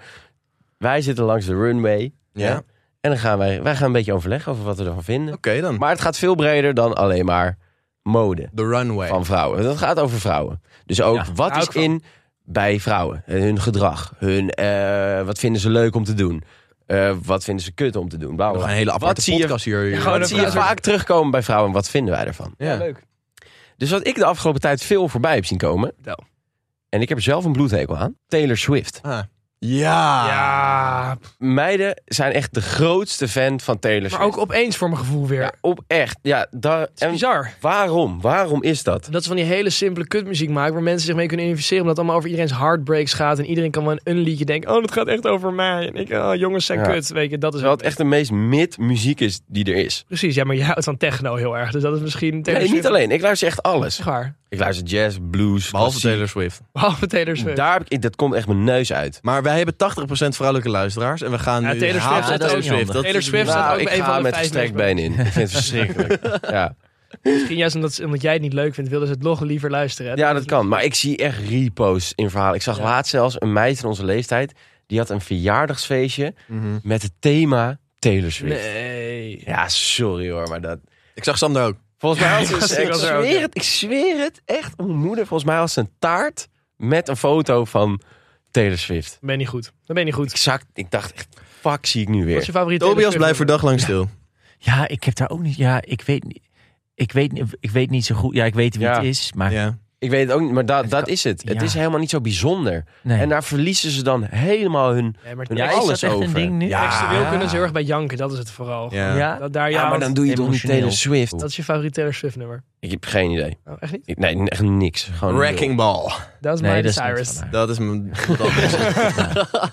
Speaker 5: wij zitten langs de runway.
Speaker 3: ja.
Speaker 5: Ja.
Speaker 3: Oké
Speaker 5: En dan gaan wij, wij gaan een beetje overleggen over wat we ervan vinden.
Speaker 3: dan.
Speaker 5: Maar het gaat veel breder dan alleen maar mode
Speaker 3: The runway.
Speaker 5: van vrouwen. Dat gaat over vrouwen. Dus ook
Speaker 4: Ja,
Speaker 5: wat
Speaker 1: hou
Speaker 5: is
Speaker 1: ik van.
Speaker 5: in bij vrouwen? Eh, Hun gedrag. Hun, eh, wat vinden ze leuk om te doen? Eh, wat vinden ze kut om te doen? Bla, bla,
Speaker 3: Nog een
Speaker 5: bla.
Speaker 3: hele aparte
Speaker 5: wat zie je,
Speaker 3: podcast hier.
Speaker 1: Ja, gewoon
Speaker 5: wat
Speaker 1: een
Speaker 5: zie je
Speaker 1: vraag.
Speaker 5: vaak terugkomen bij vrouwen? en Wat vinden wij ervan?
Speaker 3: Ja.
Speaker 1: leuk.
Speaker 5: Dus wat ik de afgelopen tijd veel voorbij heb zien komen.
Speaker 1: Vertel.
Speaker 5: En ik heb er zelf een bloedhekel aan. Taylor Swift.
Speaker 3: Ah. Ja.
Speaker 1: Ja,
Speaker 5: Meiden zijn echt de grootste fan van Taylor
Speaker 1: maar
Speaker 5: Swift.
Speaker 1: ook opeens voor mijn gevoel weer.
Speaker 5: Ja, op echt. Ja, daar,
Speaker 1: Het is
Speaker 5: en
Speaker 1: bizar.
Speaker 5: waarom? Waarom is dat?
Speaker 1: Dat ze van die hele simpele kutmuziek maken waar mensen zich mee kunnen identificeren. Omdat het allemaal over iedereen's heartbreaks gaat. En iedereen kan wel een, een liedje denken. Oh, dat gaat echt over mij. En ik, oh, jongens zijn
Speaker 5: Ja.
Speaker 1: kut. Weet je, dat is
Speaker 5: Terwijl het echt de meest mid muziek is die er is.
Speaker 1: Precies, ja, maar je houdt van techno heel erg. Dus dat is misschien... Taylor
Speaker 5: Nee, niet
Speaker 1: Swift-
Speaker 5: alleen. Ik luister echt alles.
Speaker 1: Zeg waar.
Speaker 5: Ik luister jazz, blues,
Speaker 3: Behalve
Speaker 5: klassiek.
Speaker 3: Taylor Swift.
Speaker 1: Behalve Taylor Swift.
Speaker 5: Daar heb ik, dat komt echt mijn neus uit.
Speaker 3: Maar wij hebben 80% vrouwelijke luisteraars. En we gaan
Speaker 1: Ja,
Speaker 3: nu
Speaker 1: Taylor
Speaker 3: haat
Speaker 1: Swift
Speaker 3: op
Speaker 1: staat
Speaker 3: Taylor
Speaker 4: ook niet
Speaker 3: Swift.
Speaker 4: handig.
Speaker 3: Dat
Speaker 1: Taylor Swift
Speaker 5: Nou,
Speaker 1: staat ook
Speaker 5: ik
Speaker 1: bij een van
Speaker 5: ga
Speaker 1: de
Speaker 5: met
Speaker 1: vijf
Speaker 5: gestrekt
Speaker 1: meest-
Speaker 5: been in. Ik vind het verschrikkelijk.
Speaker 1: (laughs)
Speaker 5: Ja.
Speaker 1: Misschien juist omdat, omdat jij het niet leuk vindt, wilden ze het nog liever luisteren. hè?
Speaker 5: ja, dat kan. Maar ik zie echt repo's in verhalen. Ik zag
Speaker 1: Ja.
Speaker 5: laatst zelfs een meid in onze leeftijd. Die had een verjaardagsfeestje
Speaker 4: Mhm.
Speaker 5: met het thema Taylor Swift.
Speaker 1: Nee.
Speaker 5: Ja, sorry hoor, maar dat...
Speaker 3: Ik zag Sam daar ook.
Speaker 5: Volgens mij had
Speaker 1: Ja,
Speaker 5: ze, dus
Speaker 1: ik
Speaker 5: ik,
Speaker 1: was er ook,
Speaker 5: zweer
Speaker 1: ja.
Speaker 5: het, ik zweer het, echt op mijn moeder. Volgens mij had ze een taart met een foto van Taylor Swift.
Speaker 1: Dan ben je niet goed. Dan ben je niet goed.
Speaker 5: Ik, zak, ik dacht echt, fuck zie ik nu
Speaker 1: Wat is je
Speaker 5: weer.
Speaker 1: favoriete
Speaker 3: Tobias
Speaker 1: Taylor
Speaker 3: blijft voor
Speaker 1: Swift
Speaker 3: dag lang stil.
Speaker 4: ja, ik heb daar ook niet... Ja, ik weet niet... Ik weet, niet- ik weet niet zo goed. Ja, ik weet wie
Speaker 5: Ja.
Speaker 4: het is, maar
Speaker 3: Ja.
Speaker 5: Ik weet het ook niet, maar dat,
Speaker 4: Het
Speaker 5: dat
Speaker 4: kan-
Speaker 5: is het. Het
Speaker 4: ja.
Speaker 5: is helemaal niet zo bijzonder.
Speaker 4: nee.
Speaker 5: En daar verliezen ze dan helemaal hun...
Speaker 1: nummer? Nee, maar
Speaker 5: Ja,
Speaker 4: ja,
Speaker 1: tekst-
Speaker 4: is
Speaker 5: alles
Speaker 4: dat echt
Speaker 5: over.
Speaker 4: een ding nu?
Speaker 3: Ja.
Speaker 1: textueel kunnen ze heel erg bij janken. Dat is het vooral.
Speaker 3: Ja.
Speaker 4: Ja?
Speaker 1: Dat, daar,
Speaker 5: Ja, maar
Speaker 1: want
Speaker 5: dan doe je toch niet
Speaker 4: emotioneel.
Speaker 5: Taylor Swift?
Speaker 1: Dat is je favoriete Taylor Swift nummer.
Speaker 5: Ik heb geen idee.
Speaker 1: Oh, echt niet?
Speaker 5: Ik- nee, echt niks. Gewoon nul.
Speaker 3: Wrecking Ball.
Speaker 1: Dat is
Speaker 4: Nee,
Speaker 1: Miley
Speaker 4: dat is niet
Speaker 1: Cyrus.
Speaker 4: van haar.
Speaker 3: Dat is mijn... wat anders.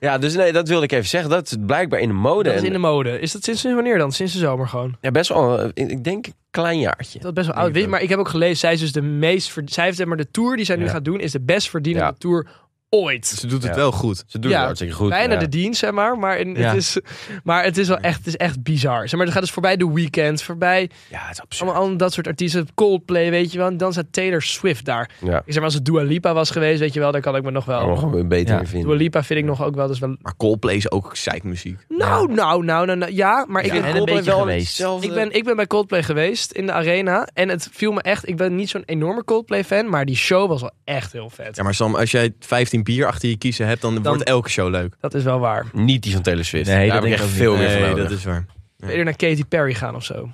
Speaker 5: Ja, dus nee, dat wilde ik even zeggen. Dat is blijkbaar in de mode.
Speaker 1: Dat is
Speaker 5: en-
Speaker 1: in de mode. Is dat sinds sinds wanneer dan? Sinds de zomer gewoon.
Speaker 5: ja, best wel, eh, ik denk een klein jaartje.
Speaker 1: Dat is best wel oud. Weet je, maar ik heb ook gelezen, zij is dus de meest... verd- Zij heeft zeg maar de tour die zij nu
Speaker 5: Ja.
Speaker 1: gaat doen, is de best verdienende
Speaker 5: Ja.
Speaker 1: tour ooit.
Speaker 3: Ze doet het
Speaker 5: Ja.
Speaker 3: wel goed.
Speaker 5: Ze doen
Speaker 1: Ja,
Speaker 5: het hartstikke goed.
Speaker 1: Bijna
Speaker 5: ja.
Speaker 1: de dienst, zeg maar. Maar, in,
Speaker 4: Ja.
Speaker 1: het, is, maar het is wel echt, het is echt bizar. Zeg maar, het gaat dus voorbij de weekend, voorbij
Speaker 5: Ja, het is absurd.
Speaker 1: allemaal al dat soort artiesten. Coldplay, weet je wel. En dan staat Taylor Swift daar.
Speaker 5: Ja,
Speaker 1: Ik zeg maar, als het Dua Lipa was geweest, weet je wel, dan kan ik me nog wel...
Speaker 5: allemaal gewoon beter
Speaker 4: Ja.
Speaker 1: Dua
Speaker 5: weer vinden.
Speaker 1: Lipa vind ik nog ook wel dus wel...
Speaker 3: Maar Coldplay is ook zeikmuziek.
Speaker 1: Nou, nou, nou, nou, nou, ja, maar ik
Speaker 4: Ja,
Speaker 1: ben
Speaker 4: en een
Speaker 1: Coldplay
Speaker 4: beetje
Speaker 1: wel-
Speaker 4: geweest.
Speaker 1: Ik ben, ik ben bij Coldplay geweest in de arena. En het viel me echt. Ik ben niet zo'n enorme Coldplay-fan. Maar die show was wel echt heel vet.
Speaker 3: Ja, maar Sam, als jij 15 bier achter je kiezen hebt, dan, wordt elke show leuk.
Speaker 1: Dat is wel waar.
Speaker 5: Niet die van Taylor Swift.
Speaker 4: Nee,
Speaker 5: Daar
Speaker 4: dat
Speaker 5: heb ik
Speaker 4: denk ik
Speaker 5: echt
Speaker 4: ook
Speaker 5: veel meer van
Speaker 3: Nee,
Speaker 5: nodig.
Speaker 3: dat is waar. Ja.
Speaker 1: Eerder naar Katy Perry gaan of zo.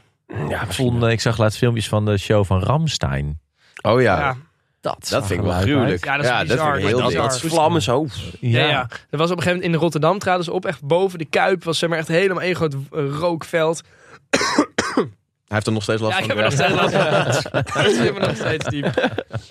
Speaker 5: Ja,
Speaker 4: Ik vond, eh, ik zag laatst filmpjes van de show van Ramstein.
Speaker 5: Oh ja,
Speaker 1: Ja,
Speaker 4: Dat,
Speaker 5: dat
Speaker 4: zag
Speaker 5: vind ik
Speaker 4: er
Speaker 5: wel
Speaker 4: uit.
Speaker 5: gruwelijk.
Speaker 1: Ja, dat is bizar.
Speaker 5: vind ik
Speaker 1: Maar
Speaker 5: heel
Speaker 1: dat-
Speaker 5: dik.
Speaker 1: dat
Speaker 5: dat
Speaker 1: is
Speaker 5: is vlammen zo.
Speaker 1: ja.
Speaker 4: Ja.
Speaker 1: ja, Er was op een gegeven moment in Rotterdam traden ze op. Echt boven de kuip. Was zeg maar echt helemaal één groot eh, rookveld.
Speaker 3: Hij heeft er nog steeds last
Speaker 1: Ja, ik
Speaker 3: van.
Speaker 1: heb er nog steeds last van. Ik zit me nog steeds diep.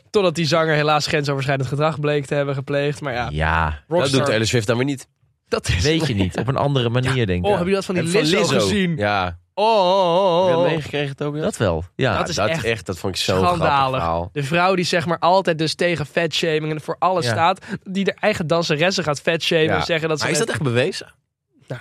Speaker 1: Totdat die zanger helaas grensoverschrijdend gedrag bleek te hebben gepleegd. Maar ja,
Speaker 4: Ja,
Speaker 5: Dat doet
Speaker 1: Rockstar.
Speaker 5: Taylor Swift dan weer niet.
Speaker 1: Dat is.
Speaker 4: weet je niet. Op een andere manier, denk
Speaker 1: Oh,
Speaker 4: ik.
Speaker 1: hebben jullie dat van die
Speaker 5: En van
Speaker 1: Lizzo, gezien?
Speaker 5: Ja.
Speaker 1: Oh, oh, oh,
Speaker 5: Heb je dat
Speaker 1: oh.
Speaker 5: meegekregen, Tobias?
Speaker 4: Dat wel, ja.
Speaker 1: Dat is echt
Speaker 5: Dat vond ik zo grappig
Speaker 1: schandalig.
Speaker 5: verhaal.
Speaker 1: De vrouw die zeg maar altijd dus tegen fatshaming en voor alles
Speaker 4: Ja.
Speaker 1: staat. Die haar eigen danseressen gaat fatshamen
Speaker 5: Ja.
Speaker 1: en zeggen dat ze...
Speaker 3: Maar is dat echt bewezen?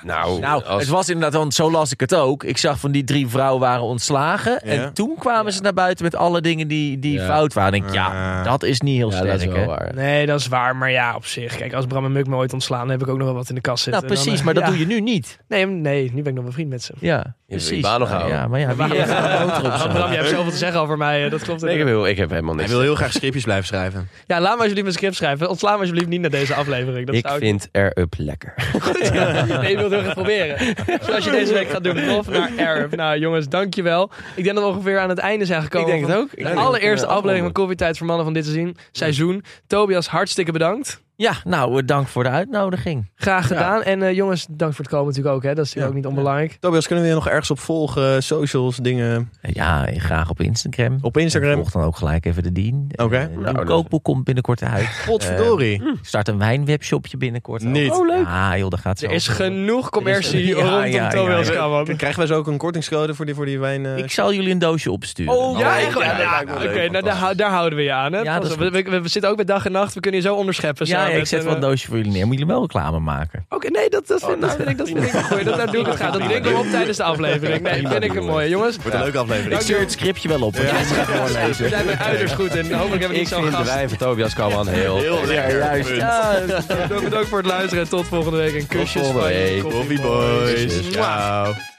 Speaker 5: Nou,
Speaker 4: Nou,
Speaker 5: als-
Speaker 4: het was inderdaad, want zo las ik het ook. Ik zag van die drie vrouwen waren ontslagen.
Speaker 3: Ja.
Speaker 4: En toen kwamen ze naar buiten met alle dingen die, die
Speaker 5: Ja.
Speaker 4: fout waren. Ik denk,
Speaker 3: Ja.
Speaker 4: ja, dat is niet heel
Speaker 5: ja, dat
Speaker 4: sterk.
Speaker 5: is wel
Speaker 4: hè? Nou,
Speaker 5: waar.
Speaker 1: Nee, dat is waar. Maar ja, op zich. Kijk, als Bram en Muk me ooit ontslaan, dan heb ik ook nog wel wat in de kast zitten. eh,
Speaker 4: Nou, precies, maar dat doe je nu niet.
Speaker 1: Nee, nee, nu ben ik nog wel vriend met ze.
Speaker 4: Ja,
Speaker 5: wil je
Speaker 4: precies.
Speaker 5: baan nog
Speaker 4: Nou,
Speaker 5: houden.
Speaker 4: ja, maar ja, wie heeft een boter op
Speaker 1: Ah,
Speaker 4: zijn
Speaker 1: Bram,
Speaker 4: hoofd?
Speaker 1: jij hebt zoveel te zeggen over mij. eh, Dat klopt.
Speaker 5: Nee, ik, wil, ik heb helemaal
Speaker 3: Hij
Speaker 5: niks.
Speaker 3: wil heel graag scriptjes blijven schrijven.
Speaker 1: Ja, laat me alsjeblieft een script schrijven. Ontslaan me alsjeblieft niet naar deze aflevering. Dat
Speaker 5: Ik
Speaker 1: zou (laughs)
Speaker 5: vind Air Up lekker.
Speaker 1: Nee, ik wil het heel graag proberen. Zoals je deze week gaat doen. Of naar Arab. Nou, jongens, dankjewel. Ik denk dat we ongeveer aan het einde zijn gekomen.
Speaker 5: Ik denk het
Speaker 1: van
Speaker 5: ook. Ik
Speaker 1: De
Speaker 5: denk dat we
Speaker 1: allereerste
Speaker 5: kunnen
Speaker 1: aflevering van Koffietijd voor Mannen van dit seizoen. seizoen. Tobias, hartstikke bedankt.
Speaker 4: Ja, nou, eh, dank voor de uitnodiging.
Speaker 1: Graag gedaan. En eh, jongens, dank voor het komen natuurlijk ook. Hè. Dat is natuurlijk
Speaker 3: Ja.
Speaker 1: ook niet onbelangrijk.
Speaker 3: Tobias, kunnen we je nog ergens op volgen? Socials, dingen.
Speaker 4: Ja, eh, graag op Instagram.
Speaker 3: Op Instagram.
Speaker 4: Volg dan ook gelijk even de dien.
Speaker 3: Oké.
Speaker 4: Een
Speaker 5: Nou, dat is-
Speaker 4: kookboek komt binnenkort uit. (laughs)
Speaker 3: Godverdorie.
Speaker 4: Eh, ik start een wijnwebshopje binnenkort. ook.
Speaker 3: Niet.
Speaker 1: Oh, leuk.
Speaker 4: Ah, joh, daar gaat ze
Speaker 1: Er is
Speaker 4: over.
Speaker 1: genoeg commercie
Speaker 4: Ja,
Speaker 1: rondom
Speaker 4: ja, ja.
Speaker 1: Tobias Kamer.
Speaker 3: Krijgen wij zo ook een kortingscode voor die, voor die wijn? eh,
Speaker 4: Ik zal jullie een doosje opsturen.
Speaker 1: Oh ja, echt?
Speaker 3: ja,
Speaker 1: Ja,
Speaker 3: dat
Speaker 1: ja,
Speaker 3: lijkt me
Speaker 1: Oké,
Speaker 3: leuk.
Speaker 1: nou, daar, hou- daar houden we je aan. Hè?
Speaker 4: Ja, dat is
Speaker 1: we, we- we zitten ook bij dag en nacht. We kunnen je zo onderscheppen.
Speaker 4: ja,
Speaker 1: samen
Speaker 4: ja, ik
Speaker 1: met
Speaker 4: zet
Speaker 1: een,
Speaker 4: wel
Speaker 1: (laughs)
Speaker 4: een
Speaker 1: eh,
Speaker 4: doosje voor jullie neer. Moeten jullie hem wel reclame maken?
Speaker 1: Oké, nee, dat,
Speaker 4: Oh,
Speaker 1: dat, vind, dat vind (laughs) ik, dat vind ik een goeie. Dat, daar doe ik het graag. Dat drinken we op tijdens de aflevering. Nee, vind ik een mooie. Jongens,
Speaker 3: Wordt een leuke aflevering.
Speaker 4: Ik stuur het scriptje wel op. want jullie moeten het
Speaker 1: we
Speaker 4: voorlezen.
Speaker 1: zijn bij uiterst goed in. Hopelijk hebben we
Speaker 5: Ik
Speaker 1: niet zo'n
Speaker 5: vind de
Speaker 1: gast. Ah, dus
Speaker 5: wijn van Tobias Kalman heel...
Speaker 3: Heel lekker.
Speaker 1: Ja, bedankt bedankt voor het luisteren. Tot volgende week. En
Speaker 5: Tot
Speaker 1: kusjes
Speaker 5: volgende
Speaker 1: van je
Speaker 5: week.
Speaker 1: koffie
Speaker 3: Boys.
Speaker 1: boys.
Speaker 3: Ciao.